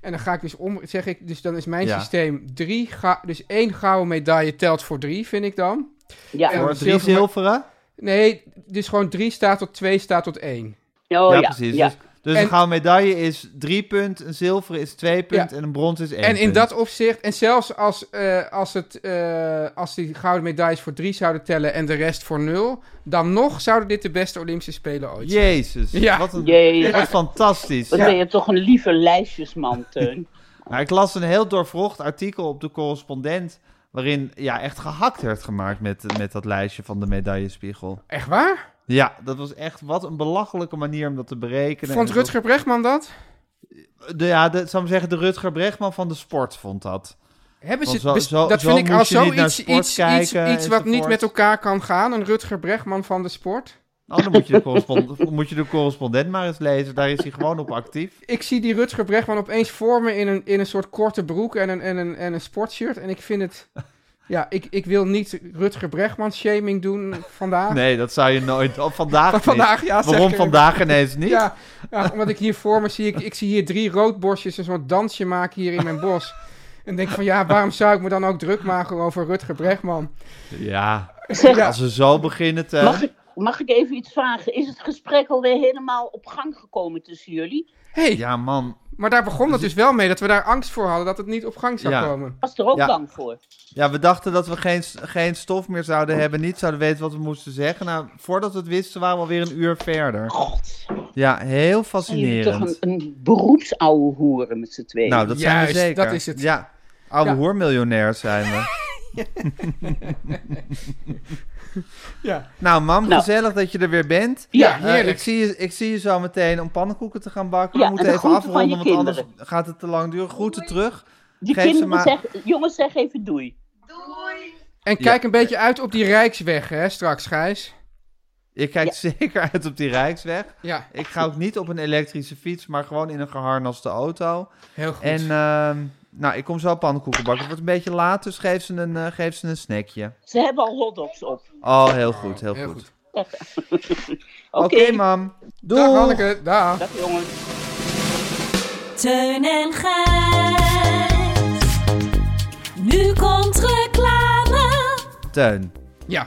Speaker 4: En dan ga ik dus om, zeg ik... dus dan is mijn
Speaker 1: Ja.
Speaker 4: systeem drie... Ga, dus één gouden medaille telt voor drie, vind ik dan.
Speaker 7: ja.
Speaker 4: en-
Speaker 7: Oh,
Speaker 1: Voor drie zilveren?
Speaker 4: Nee, dus gewoon drie staat tot twee staat tot één.
Speaker 7: ja,
Speaker 1: ja, precies.
Speaker 7: Oh, ja.
Speaker 1: Dus, Dus een gouden medaille is drie punt, een zilveren is twee punt en een brons is één
Speaker 4: En in
Speaker 1: punt.
Speaker 4: dat opzicht, en zelfs als, eh, als, het, eh, als die gouden medailles voor drie zouden tellen en de rest voor nul, dan nog zouden dit de beste Olympische Spelen ooit zijn.
Speaker 1: Jezus,
Speaker 4: Ja.
Speaker 1: wat, een,
Speaker 7: Jezus.
Speaker 1: wat fantastisch.
Speaker 7: Wat ben je toch een lieve lijstjesman, Teun.
Speaker 1: Maar ik las een heel doorvrocht artikel op de correspondent... waarin ja, echt gehakt werd gemaakt met, met dat lijstje van de medaillespiegel.
Speaker 4: Echt waar?
Speaker 1: Ja, dat was echt wat een belachelijke manier om dat te berekenen.
Speaker 4: Vond
Speaker 1: En dat-
Speaker 4: Rutger Bregman dat?
Speaker 1: De, ja, de, zou ik zeggen, de Rutger Brechtman van de sport vond dat.
Speaker 4: Hebben ze,
Speaker 1: Want zo-
Speaker 4: bes-
Speaker 1: zo-
Speaker 4: dat
Speaker 1: zo
Speaker 4: vind ik
Speaker 1: moet
Speaker 4: al
Speaker 1: je niet naar
Speaker 4: zoiets iets,
Speaker 1: sport
Speaker 4: iets,
Speaker 1: kijken,
Speaker 4: iets wat niet
Speaker 1: enzovoort.
Speaker 4: met elkaar kan gaan. Een Rutger Bregman van de sport.
Speaker 1: Nou, dan
Speaker 7: [laughs]
Speaker 1: moet je, de correspondent, moet je de correspondent maar eens lezen. Daar is hij gewoon op actief.
Speaker 4: Ik zie die Rutger Bregman opeens voor me in een, in een soort korte broek en een, en, een, en een sportshirt. En ik vind
Speaker 1: [laughs]
Speaker 4: het... Ja, ik, ik wil niet Rutger Bregman shaming doen vandaag.
Speaker 1: Nee, dat zou je nooit. Oh, vandaag niet.
Speaker 4: Vandaag, ja, zeg
Speaker 1: Waarom
Speaker 4: ik.
Speaker 1: vandaag ineens niet?
Speaker 4: Ja, ja, omdat ik hier voor me zie, ik, ik zie hier drie roodborstjes een soort dansje maken hier in mijn bos. En denk van ja, waarom zou ik me dan ook druk maken over Rutger Bregman?
Speaker 1: Ja,
Speaker 7: Zeg,
Speaker 1: als we zo beginnen te...
Speaker 7: mag, ik, mag ik even iets vragen? Is het gesprek alweer helemaal op gang gekomen tussen jullie?
Speaker 4: hey,
Speaker 1: Ja, man.
Speaker 4: maar daar begon het dus wel mee, dat we daar angst voor hadden dat het niet op gang zou
Speaker 1: Ja.
Speaker 4: komen.
Speaker 7: Was er ook
Speaker 1: Ja.
Speaker 7: bang voor?
Speaker 1: Ja, we dachten dat we geen, geen stof meer zouden hebben. Niet zouden weten wat we moesten zeggen. Nou, voordat we het wisten waren we alweer een uur verder.
Speaker 7: God,
Speaker 1: Ja, heel
Speaker 7: zijn jullie toch een,
Speaker 1: fascinerend.
Speaker 7: een beroepsouwe hoeren met z'n tweeën?
Speaker 1: Nou, dat zijn we
Speaker 4: Juist,
Speaker 1: zeker.
Speaker 4: dat is het.
Speaker 1: Ja, oude
Speaker 4: Ja.
Speaker 1: hoormiljonairs zijn we.
Speaker 4: [laughs] Ja,
Speaker 1: Nou, mam,
Speaker 7: Nou.
Speaker 1: gezellig dat je er weer bent.
Speaker 7: Ja,
Speaker 1: Eh,
Speaker 4: heerlijk.
Speaker 1: ik, zie je, ik zie je zo meteen om pannenkoeken te gaan bakken.
Speaker 7: Ja,
Speaker 1: we moeten
Speaker 7: en de
Speaker 1: even
Speaker 7: groeten van
Speaker 1: afronden, want
Speaker 7: je
Speaker 1: anders
Speaker 7: kinderen.
Speaker 1: gaat het te lang duren. Groeten terug.
Speaker 7: Die
Speaker 1: geef ze
Speaker 7: kinderen
Speaker 1: maar-
Speaker 7: zeggen, jongens, zeg even doei.
Speaker 4: en kijk een beetje uit op die Rijksweg hè, straks Gijs.
Speaker 1: Ik kijk [laughs] zeker uit op die Rijksweg.
Speaker 4: Ja,
Speaker 1: Ik ga ook niet op een elektrische fiets, maar gewoon in een geharnaste auto.
Speaker 4: heel goed.
Speaker 1: En ehm, nou, ik kom zo pannenkoeken bakken. Het wordt een beetje laat, dus geef ze een, eh, geef ze een snackje.
Speaker 7: Ze hebben al hotdogs op.
Speaker 1: Oh, heel goed, heel,
Speaker 4: heel
Speaker 1: goed.
Speaker 4: goed.
Speaker 7: Oké,
Speaker 1: Oké, mam.
Speaker 4: Dag
Speaker 1: Doei.
Speaker 4: Hanneke, dag.
Speaker 7: dag jongens.
Speaker 6: Teun en Gijs. Nu komt reclame.
Speaker 1: Teun,
Speaker 4: Ja,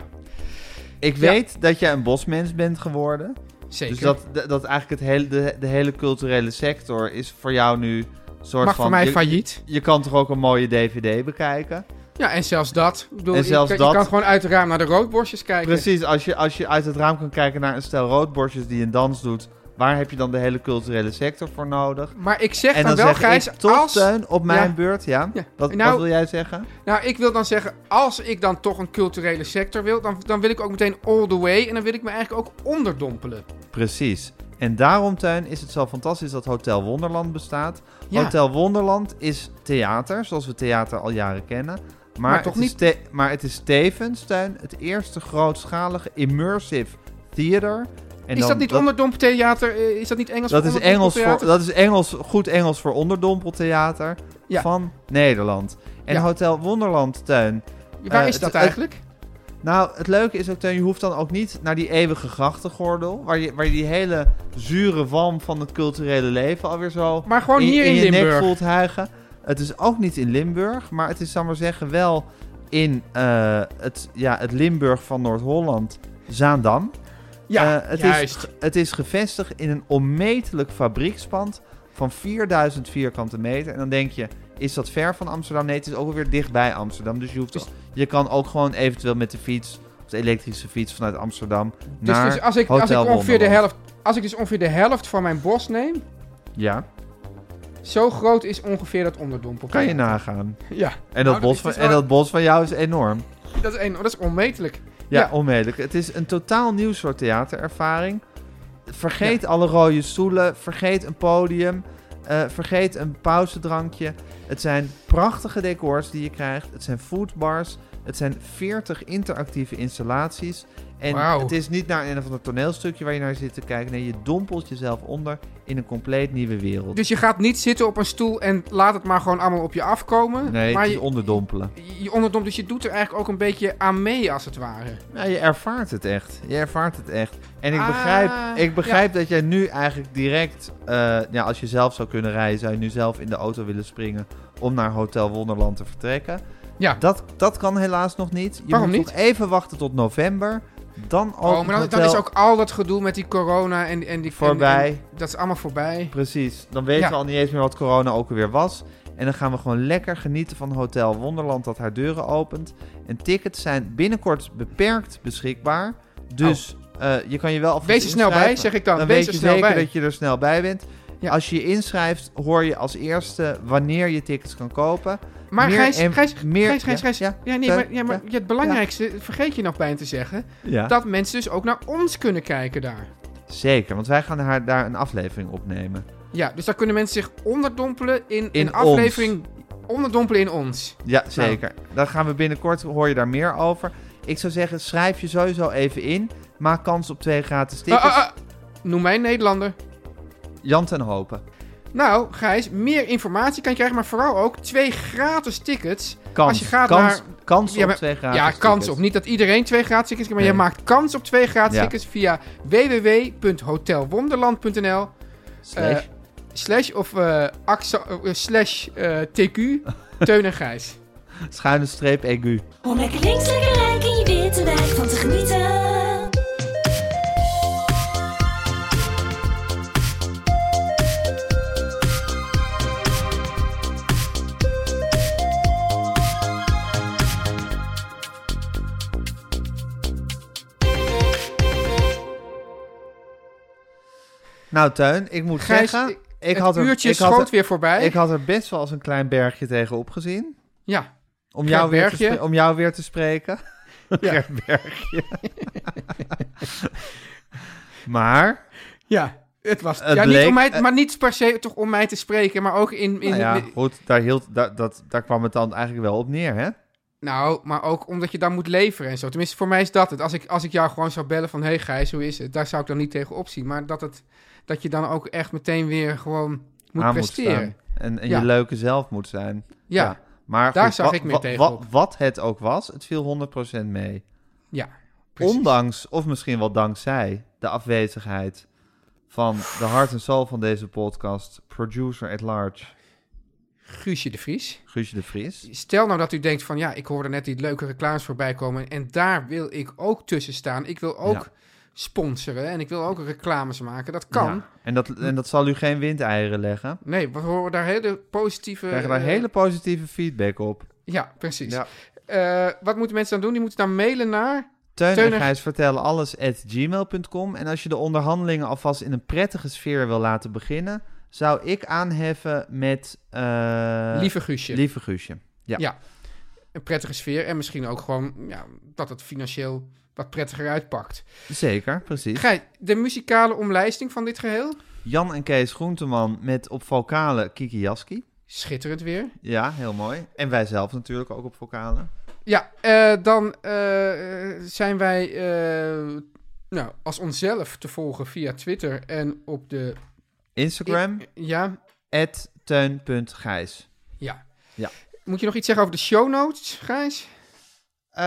Speaker 1: ik
Speaker 4: Ja.
Speaker 1: weet dat jij een bosmens bent geworden.
Speaker 4: zeker.
Speaker 1: Dus dat, dat- dat eigenlijk het hele, de, de hele culturele sector is voor jou nu een soort
Speaker 4: Mag
Speaker 1: van...
Speaker 4: voor mij
Speaker 1: je,
Speaker 4: failliet.
Speaker 1: je kan toch ook een mooie dvd bekijken?
Speaker 4: Ja, en zelfs dat. Ik bedoel,
Speaker 1: En
Speaker 4: je
Speaker 1: zelfs
Speaker 4: kan- je,
Speaker 1: dat.
Speaker 4: kan gewoon uit het raam naar de roodborstjes kijken.
Speaker 1: Precies, als je, als je uit het raam kan kijken naar een stel roodborstjes die een dans doet... waar heb je dan de hele culturele sector voor nodig?
Speaker 4: Maar ik zeg
Speaker 1: en
Speaker 4: dan
Speaker 1: dan
Speaker 4: wel,
Speaker 1: zeg
Speaker 4: Gijs,
Speaker 1: ik eh, toch,
Speaker 4: als...
Speaker 1: Teun, op mijn
Speaker 4: Ja.
Speaker 1: beurt, ja?
Speaker 4: Ja.
Speaker 1: Wat,
Speaker 4: Nou-
Speaker 1: wat wil jij zeggen?
Speaker 4: Nou, ik wil dan zeggen, als ik dan toch een culturele sector wil, dan, dan wil ik ook meteen all the way en dan wil ik me eigenlijk ook onderdompelen.
Speaker 1: Precies. En daarom, Tuin, is het zo fantastisch dat Hotel Wonderland bestaat.
Speaker 4: Ja.
Speaker 1: Hotel Wonderland is theater, zoals we theater al jaren kennen. Maar,
Speaker 4: Maar toch
Speaker 1: het is
Speaker 4: niet-
Speaker 1: te- maar het is tevens, Tuin, het eerste grootschalige immersive theater. En
Speaker 4: is
Speaker 1: dan-
Speaker 4: dat niet onderdompeltheater? eh, Is dat niet Engels
Speaker 1: dat is,
Speaker 4: voor
Speaker 1: Engels voor,
Speaker 4: onderdompeltheater?
Speaker 1: dat is Engels, goed Engels voor onderdompeltheater
Speaker 4: Ja.
Speaker 1: van Nederland. En
Speaker 4: Ja.
Speaker 1: Hotel Wonderland, Tuin.
Speaker 4: Waar
Speaker 1: eh,
Speaker 4: is
Speaker 1: het-
Speaker 4: dat
Speaker 1: het-
Speaker 4: eigenlijk?
Speaker 1: Nou, het leuke is ook, Teun, je hoeft dan ook niet naar die eeuwige grachtengordel. Waar je, waar je die hele zure walm van het culturele leven alweer zo.
Speaker 4: Maar gewoon hier in
Speaker 1: je
Speaker 4: Limburg.
Speaker 1: nek voelt hijgen. Het is ook niet in Limburg, maar het is, zal ik maar zeggen, wel in eh, het, ja, het Limburg van Noord-Holland, Zaandam.
Speaker 4: ja,
Speaker 1: Eh, het,
Speaker 4: juist.
Speaker 1: Is, het is gevestigd in een onmetelijk fabriekspand van 4000 vierkante meter. En dan denk je, is dat ver van Amsterdam? Nee, het is ook weer dichtbij Amsterdam. Dus je, hoeft
Speaker 4: Dus-
Speaker 1: je kan ook gewoon eventueel met de fiets, of de elektrische fiets vanuit Amsterdam
Speaker 4: dus,
Speaker 1: naar
Speaker 4: dus als ik, als ik
Speaker 1: Hotel
Speaker 4: ongeveer de
Speaker 1: Wonderland.
Speaker 4: helft... Als ik dus ongeveer de helft van mijn bos neem,
Speaker 1: Ja,
Speaker 4: zo groot is ongeveer dat onderdompel.
Speaker 1: kan je nagaan.
Speaker 4: Ja,
Speaker 1: En dat,
Speaker 4: Nou, dat
Speaker 1: bos,
Speaker 4: is
Speaker 1: van,
Speaker 4: dus
Speaker 1: en
Speaker 4: wel-
Speaker 1: dat bos van jou is enorm.
Speaker 4: dat is, een, dat is onmetelijk.
Speaker 1: Ja,
Speaker 4: Ja.
Speaker 1: onmiddellijk. Het is een totaal nieuw soort theaterervaring. Vergeet alle rode stoelen, vergeet een podium, eh, vergeet een pauzedrankje. Het zijn prachtige decors die je krijgt. Het zijn foodbars. Het zijn 40 interactieve installaties. En
Speaker 4: Wauw.
Speaker 1: het is niet naar een of ander toneelstukje waar je naar zit te kijken. Nee, je dompelt jezelf onder in een compleet nieuwe wereld.
Speaker 4: Dus je gaat niet zitten op een stoel en laat het maar gewoon allemaal op je afkomen.
Speaker 1: nee,
Speaker 4: maar
Speaker 1: het is
Speaker 4: je,
Speaker 1: onderdompelen.
Speaker 4: je onderdompelt, dus je doet er eigenlijk ook een beetje aan mee als het ware.
Speaker 1: Ja, je ervaart het echt. Je ervaart het echt. En ik
Speaker 4: Ah,
Speaker 1: begrijp, ik begrijp dat jij nu eigenlijk direct... eh, ja, als je zelf zou kunnen rijden, zou je nu zelf in de auto willen springen... om naar Hotel Wonderland te vertrekken.
Speaker 4: Ja.
Speaker 1: Dat, dat kan helaas nog niet. Je
Speaker 4: Waarom
Speaker 1: moet
Speaker 4: niet?
Speaker 1: nog even wachten tot november. Dan al
Speaker 4: Oh, maar dan, dan is ook al dat gedoe met die corona en, en die... en-
Speaker 1: Voorbij.
Speaker 4: en- dat is allemaal voorbij.
Speaker 1: Precies, dan weten
Speaker 4: Ja.
Speaker 1: we al niet eens meer wat corona ook alweer was. En dan gaan we gewoon lekker genieten van Hotel Wonderland dat haar deuren opent. En tickets zijn binnenkort beperkt beschikbaar. Dus eh, je kan je wel... alvast
Speaker 4: Oh. Wees er snel bij,
Speaker 1: inschrijven.
Speaker 4: zeg ik dan.
Speaker 1: Dan
Speaker 4: Wees
Speaker 1: weet
Speaker 4: er
Speaker 1: je
Speaker 4: snel
Speaker 1: zeker
Speaker 4: bij.
Speaker 1: dat je er snel bij bent.
Speaker 4: Ja.
Speaker 1: Als je je inschrijft, hoor je als eerste wanneer je tickets kan kopen.
Speaker 4: Maar
Speaker 1: Meer
Speaker 4: Gijs,
Speaker 1: en-
Speaker 4: Gijs,
Speaker 1: meer-
Speaker 4: Gijs, Gijs,
Speaker 1: ja,
Speaker 4: Gijs.
Speaker 1: ja,
Speaker 4: Ja, nee,
Speaker 1: ja,
Speaker 4: maar, ja, maar
Speaker 1: ja,
Speaker 4: het belangrijkste vergeet je nog bij te zeggen.
Speaker 1: Ja.
Speaker 4: Dat mensen dus ook naar ons kunnen kijken daar.
Speaker 1: Zeker, want wij gaan haar, daar een aflevering opnemen.
Speaker 4: Ja, dus daar kunnen mensen zich onderdompelen in,
Speaker 1: In
Speaker 4: een aflevering. Onderdompelen in ons.
Speaker 1: Ja, zeker. Daar gaan we binnenkort, hoor je daar meer over. Ik zou zeggen, schrijf je sowieso even in. Maak kans op twee gratis
Speaker 4: Ah,
Speaker 1: tickets.
Speaker 4: ah, ah. Noem mij een Nederlander.
Speaker 1: Jan ten Hopen.
Speaker 4: Nou, Gijs, meer informatie kan je krijgen, maar vooral ook twee gratis tickets.
Speaker 1: Kans.
Speaker 4: Als je gaat
Speaker 1: kans,
Speaker 4: naar...
Speaker 1: kans op
Speaker 4: maar-
Speaker 1: twee gratis
Speaker 4: Ja, kans
Speaker 1: tickets.
Speaker 4: op. Niet dat iedereen twee gratis tickets krijgt, maar
Speaker 1: Nee.
Speaker 4: je maakt kans op twee gratis
Speaker 1: Ja.
Speaker 4: tickets via www.hotelwonderland.nl
Speaker 1: Slash.
Speaker 4: Eh, slash of eh, axa, eh, slash eh, TQ Teun en Gijs.
Speaker 1: Schuine streep egu.
Speaker 6: Om lekker links, lekker rijk in je witte wijk van te genieten.
Speaker 1: Nou, Teun, ik moet [laughs]
Speaker 4: Gijs,
Speaker 1: zeggen...
Speaker 4: ik-
Speaker 1: Ik
Speaker 4: het
Speaker 1: had er,
Speaker 4: uurtje
Speaker 1: ik
Speaker 4: schoot
Speaker 1: had er-
Speaker 4: weer voorbij.
Speaker 1: Ik had er best wel eens een klein bergje tegenop gezien.
Speaker 4: ja,
Speaker 1: Om
Speaker 4: Gert
Speaker 1: jou, weer te
Speaker 4: Bergje.
Speaker 1: spre- om jou weer te spreken.
Speaker 4: [laughs] Ja.
Speaker 1: Gert Bergje. [laughs] maar,
Speaker 4: ja. Het was
Speaker 1: Het
Speaker 4: ja,
Speaker 1: bleek-
Speaker 4: niet om mij,
Speaker 1: eh,
Speaker 4: maar niet per se toch om mij te spreken, maar ook in... in
Speaker 1: nou ja, goed, daar, hield, daar, dat, daar kwam het dan eigenlijk wel op neer, hè?
Speaker 4: Nou, maar ook omdat je dan moet leveren en zo. Tenminste, voor mij is dat het. Als ik, als ik jou gewoon zou bellen van... Hé hey Gijs, hoe is het? Daar zou ik dan niet tegen opzien. Maar dat, het, dat je dan ook echt meteen weer gewoon moet
Speaker 1: Aan
Speaker 4: presteren.
Speaker 1: staan. en en
Speaker 4: Ja.
Speaker 1: je leuke zelf moet zijn.
Speaker 4: Ja.
Speaker 1: Maar
Speaker 4: Daar
Speaker 1: goed,
Speaker 4: zag
Speaker 1: wa-
Speaker 4: ik meer
Speaker 1: wa-
Speaker 4: tegenop.
Speaker 1: wa- wat het ook was, het viel 100% mee.
Speaker 4: ja, precies.
Speaker 1: Ondanks, of misschien wel dankzij, de afwezigheid van de hart en ziel van deze podcast, producer at large,
Speaker 4: Guusje de Vries.
Speaker 1: Guusje de Vries.
Speaker 4: Stel nou dat u denkt van... Ja, ik hoorde net die leuke reclames voorbij komen. En daar wil ik ook tussen staan. Ik wil ook
Speaker 1: Ja.
Speaker 4: sponsoren. En ik wil ook reclames maken. Dat kan.
Speaker 1: Ja. En, dat, en dat zal u geen windeieren leggen.
Speaker 4: Nee, we horen daar hele positieve...
Speaker 1: We krijgen daar
Speaker 4: eh,
Speaker 1: hele positieve feedback op.
Speaker 4: Ja, precies.
Speaker 1: Ja.
Speaker 4: Eh, wat moeten mensen dan doen? Die moeten dan mailen naar...
Speaker 1: Teun
Speaker 4: Teun en-
Speaker 1: en Gijs vertellen alles at gmail.com. En als je de onderhandelingen alvast in een prettige sfeer wil laten beginnen, zou ik aanheffen met... eh,
Speaker 4: Lieve Guusje.
Speaker 1: Lieve Guusje. Ja.
Speaker 4: Ja. een prettige sfeer. En misschien ook gewoon ja, dat het financieel wat prettiger uitpakt.
Speaker 1: zeker, precies.
Speaker 4: Gij, de muzikale omlijsting van dit geheel?
Speaker 1: Jan en Kees Groenteman met op vocalen Kiki Jaski.
Speaker 4: Schitterend weer.
Speaker 1: Ja, heel mooi. En wij zelf natuurlijk ook op vocalen.
Speaker 4: Ja, eh, dan eh, eh, zijn wij eh, nou, als onszelf te volgen via Twitter en op de...
Speaker 1: Instagram,
Speaker 4: Ja,
Speaker 1: at teun.gijs.
Speaker 4: ja.
Speaker 1: Ja.
Speaker 4: Moet je nog iets zeggen over de show notes, Gijs?
Speaker 1: Eh,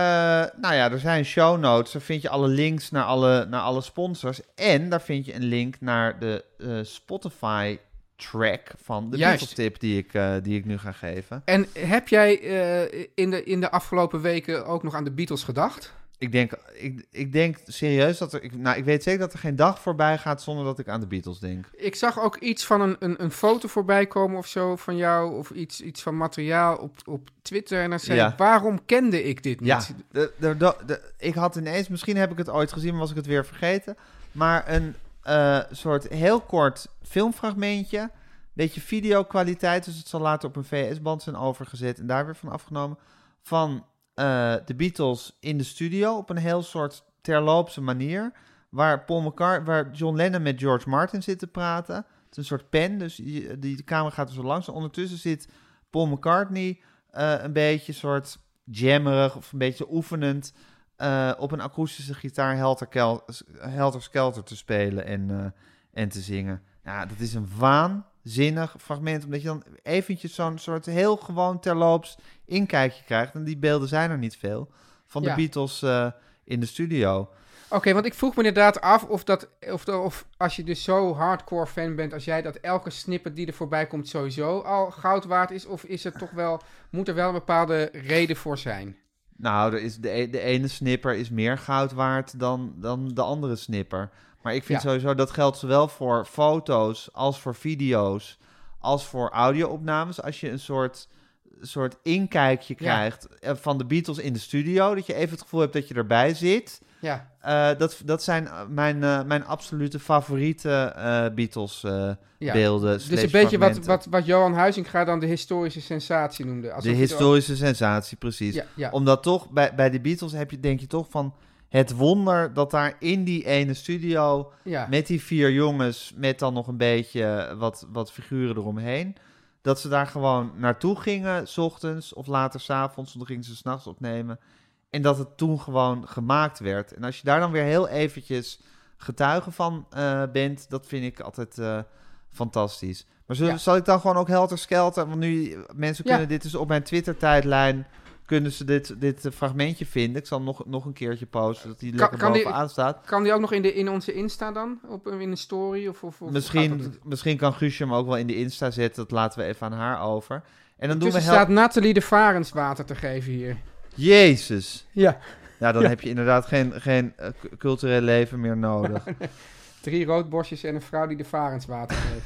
Speaker 1: nou ja, er zijn show notes. Daar vind je alle links naar alle, naar alle sponsors. En daar vind je een link naar de eh, Spotify track van de
Speaker 4: Juist.
Speaker 1: Beatles tip die ik, eh, die ik nu ga geven.
Speaker 4: En heb jij eh, in, de, in de afgelopen weken ook nog aan de Beatles gedacht?
Speaker 1: Ik denk, ik, ik denk serieus dat er... Ik, nou, ik weet zeker dat er geen dag voorbij gaat zonder dat ik aan de Beatles denk.
Speaker 4: Ik zag ook iets van een, een, een foto voorbij komen of zo van jou. Of iets, iets van materiaal op, op Twitter. En dan zei
Speaker 1: Ja.
Speaker 4: ik, waarom kende ik dit
Speaker 1: Ja,
Speaker 4: niet?
Speaker 1: de, de, de- de- ik had ineens, misschien heb ik het ooit gezien, maar was ik het weer vergeten. Maar een eh, soort heel kort filmfragmentje. Beetje videokwaliteit, dus het zal later op een VS-band zijn overgezet en daar weer van afgenomen. Van eh, de Beatles in de studio op een heel soort terloopse manier. Waar, Paul McCart waar John Lennon met George Martin zit te praten. Het is een soort pen, dus je- die, de camera gaat er zo langs. En ondertussen zit Paul McCartney eh, een beetje soort jammerig of een beetje oefenend eh, op een akoestische gitaar Helter, Kel- Helter Skelter te spelen en, eh, en te zingen. Ja, dat is een waanzinnig fragment, omdat je dan eventjes zo'n soort heel gewoon terloops inkijkje krijgt. En die beelden zijn er niet veel van de
Speaker 4: Ja.
Speaker 1: Beatles eh, in de studio.
Speaker 4: Oké, want ik vroeg me inderdaad af of, dat, of, de- of als je dus zo hardcore fan bent als jij... dat elke snippet die er voorbij komt sowieso al goud waard is. Of is het toch wel, moet er wel een bepaalde reden voor zijn?
Speaker 1: Nou, er is de, e- de ene snipper is meer goud waard dan, dan de andere snipper. Maar ik vind
Speaker 4: Ja.
Speaker 1: sowieso dat geldt zowel voor foto's als voor video's als voor audio-opnames. Als je een soort, soort inkijkje krijgt eh, van de Beatles in de studio, dat je even het gevoel hebt dat je erbij zit.
Speaker 4: Ja.
Speaker 1: Eh, dat, dat zijn eh, mijn, eh, mijn absolute favoriete eh,
Speaker 4: Ja.
Speaker 1: Beatles-beelden.
Speaker 4: Dus een beetje wat, wat, wat Johan Huizinga dan de historische sensatie noemde. Alsof
Speaker 1: De
Speaker 4: het ook-
Speaker 1: historische sensatie, precies.
Speaker 4: Ja, ja.
Speaker 1: Omdat toch, bij, bij de Beatles heb je, denk je toch van het wonder dat daar in die ene studio
Speaker 4: Ja.
Speaker 1: met die vier jongens, met dan nog een beetje wat, wat figuren eromheen, dat ze daar gewoon naartoe gingen, s ochtends of later s'avonds, want dan gingen ze s'nachts opnemen. En dat het toen gewoon gemaakt werd. En als je daar dan weer heel eventjes getuige van eh, bent, dat vind ik altijd eh, fantastisch. Maar zullen-
Speaker 4: Ja.
Speaker 1: zal ik dan gewoon ook helter skelter, want nu mensen
Speaker 4: Ja.
Speaker 1: kunnen dit dus op mijn Twitter tijdlijn kunnen ze dit, dit eh, fragmentje vinden. Ik zal hem nog, nog een keertje posten, dat die lekker
Speaker 4: kan die-
Speaker 1: bovenaan staat.
Speaker 4: Kan die ook nog in, de, in onze Insta dan? Op, in een story? Of, of, of gaat dat-
Speaker 1: Misschien, misschien kan Guusje hem ook wel in de Insta zetten. Dat laten we even aan haar over. En dan doen we
Speaker 4: Tussen
Speaker 1: help...
Speaker 4: staat Nathalie de Varens water te geven hier.
Speaker 1: Jezus.
Speaker 4: Ja.
Speaker 1: Ja, dan heb je inderdaad geen, geen eh, cu- cultureel leven meer nodig.
Speaker 4: Drie roodborstjes en een vrouw die de Varens water geeft.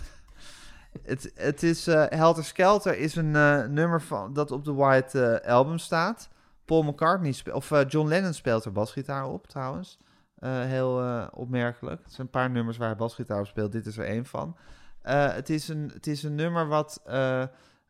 Speaker 1: het, het is eh, Helter Skelter is een eh, nummer van, dat op de White eh, Album staat. Paul McCartney speelt, of eh, John Lennon speelt er basgitaar op trouwens. Eh, heel eh, opmerkelijk. Er zijn een paar nummers waar hij basgitaar op speelt. Dit is er één van. Eh, het, is een, het is een nummer wat... eh,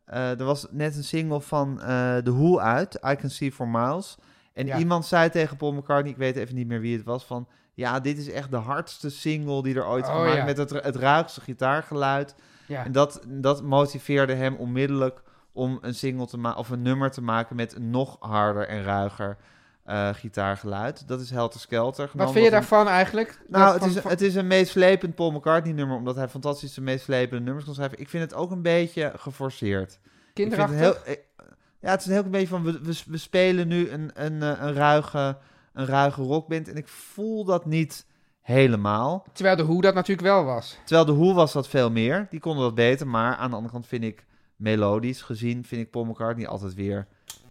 Speaker 1: eh, er was net een single van eh The Who uit, I Can See For Miles. En
Speaker 4: Ja.
Speaker 1: iemand zei tegen Paul McCartney, ik weet even niet meer wie het was, van... Ja, dit is echt de hardste single die er ooit
Speaker 4: Oh,
Speaker 1: gemaakt
Speaker 4: ja.
Speaker 1: met het, het ruigste gitaargeluid.
Speaker 4: Ja.
Speaker 1: En dat, dat motiveerde hem onmiddellijk om een single te maken of een nummer te maken met een nog harder en ruiger eh, gitaargeluid. Dat is Helter Skelter.
Speaker 4: Wat
Speaker 1: genomen
Speaker 4: vind je
Speaker 1: als een-
Speaker 4: daarvan eigenlijk?
Speaker 1: Nou,
Speaker 4: Dat
Speaker 1: het
Speaker 4: van-
Speaker 1: is,
Speaker 4: van-
Speaker 1: het is een meeslepend Paul McCartney nummer, omdat hij fantastische meeslepende nummers kan schrijven. Ik vind het ook een beetje geforceerd. Ik vind het
Speaker 4: kinderachtig?
Speaker 1: heel- eh, ja, het is een heel beetje van, we, we, we spelen nu een, een, eh, een, ruige, een ruige rockband en ik voel dat niet helemaal.
Speaker 4: Terwijl de hoe dat natuurlijk wel was.
Speaker 1: Terwijl de Hoe was dat veel meer. Die konden dat beter. Maar aan de andere kant vind ik melodisch gezien... vind ik Paul McCartney altijd weer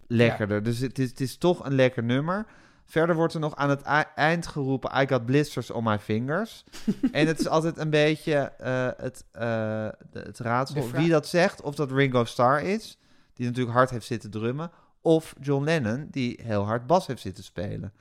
Speaker 1: lekkerder. Dus het is, het is toch een lekker nummer. Verder wordt er nog aan het ei- eind geroepen... I got blisters on my fingers. en het is altijd een beetje eh, het, eh, de- het raadsel...
Speaker 4: De vraag-
Speaker 1: wie dat zegt. Of dat Ringo Starr is. Die natuurlijk hard heeft zitten drummen. Of John Lennon, die heel hard bas heeft zitten spelen.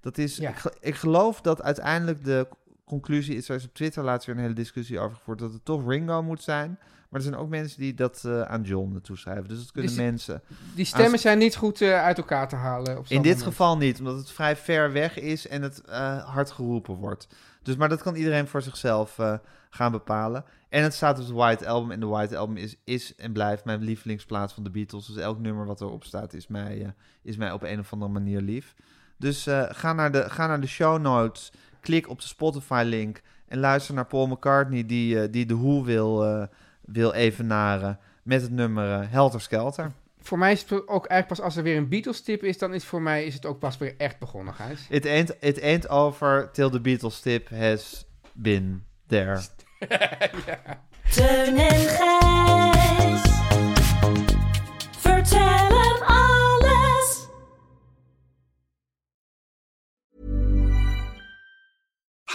Speaker 1: Dat is,
Speaker 4: Ja.
Speaker 1: ik, ge- ik geloof dat uiteindelijk de conclusie is, er is op Twitter laatst weer een hele discussie over gevoerd, dat het toch Ringo moet zijn. Maar er zijn ook mensen die dat eh, aan John toeschrijven. Dus dat kunnen
Speaker 4: Dus-
Speaker 1: mensen.
Speaker 4: Die stemmen zijn niet goed eh, uit elkaar te halen. Op zo'n
Speaker 1: In dit
Speaker 4: moment.
Speaker 1: geval niet, omdat het vrij ver weg is en het eh, hard geroepen wordt. Dus, maar dat kan iedereen voor zichzelf eh, gaan bepalen. En het staat op de White Album. En de White Album is, is en blijft mijn lievelingsplaats van de Beatles. Dus elk nummer wat erop staat is mij, eh, is mij op een of andere manier lief. Dus eh, ga, naar de, ga naar de show notes. Klik op de Spotify-link. En luister naar Paul McCartney, die, eh, die de hoe wil, eh, wil evenaren. Met het nummer eh, Helter Skelter.
Speaker 4: Voor mij is het ook eigenlijk pas als er weer een Beatles-tip is, dan is voor mij is het ook pas weer echt begonnen, Gijs.
Speaker 1: It ain't, it ain't over till the Beatles tip has been there.
Speaker 6: Teun en Gijs. Vertel hem alles.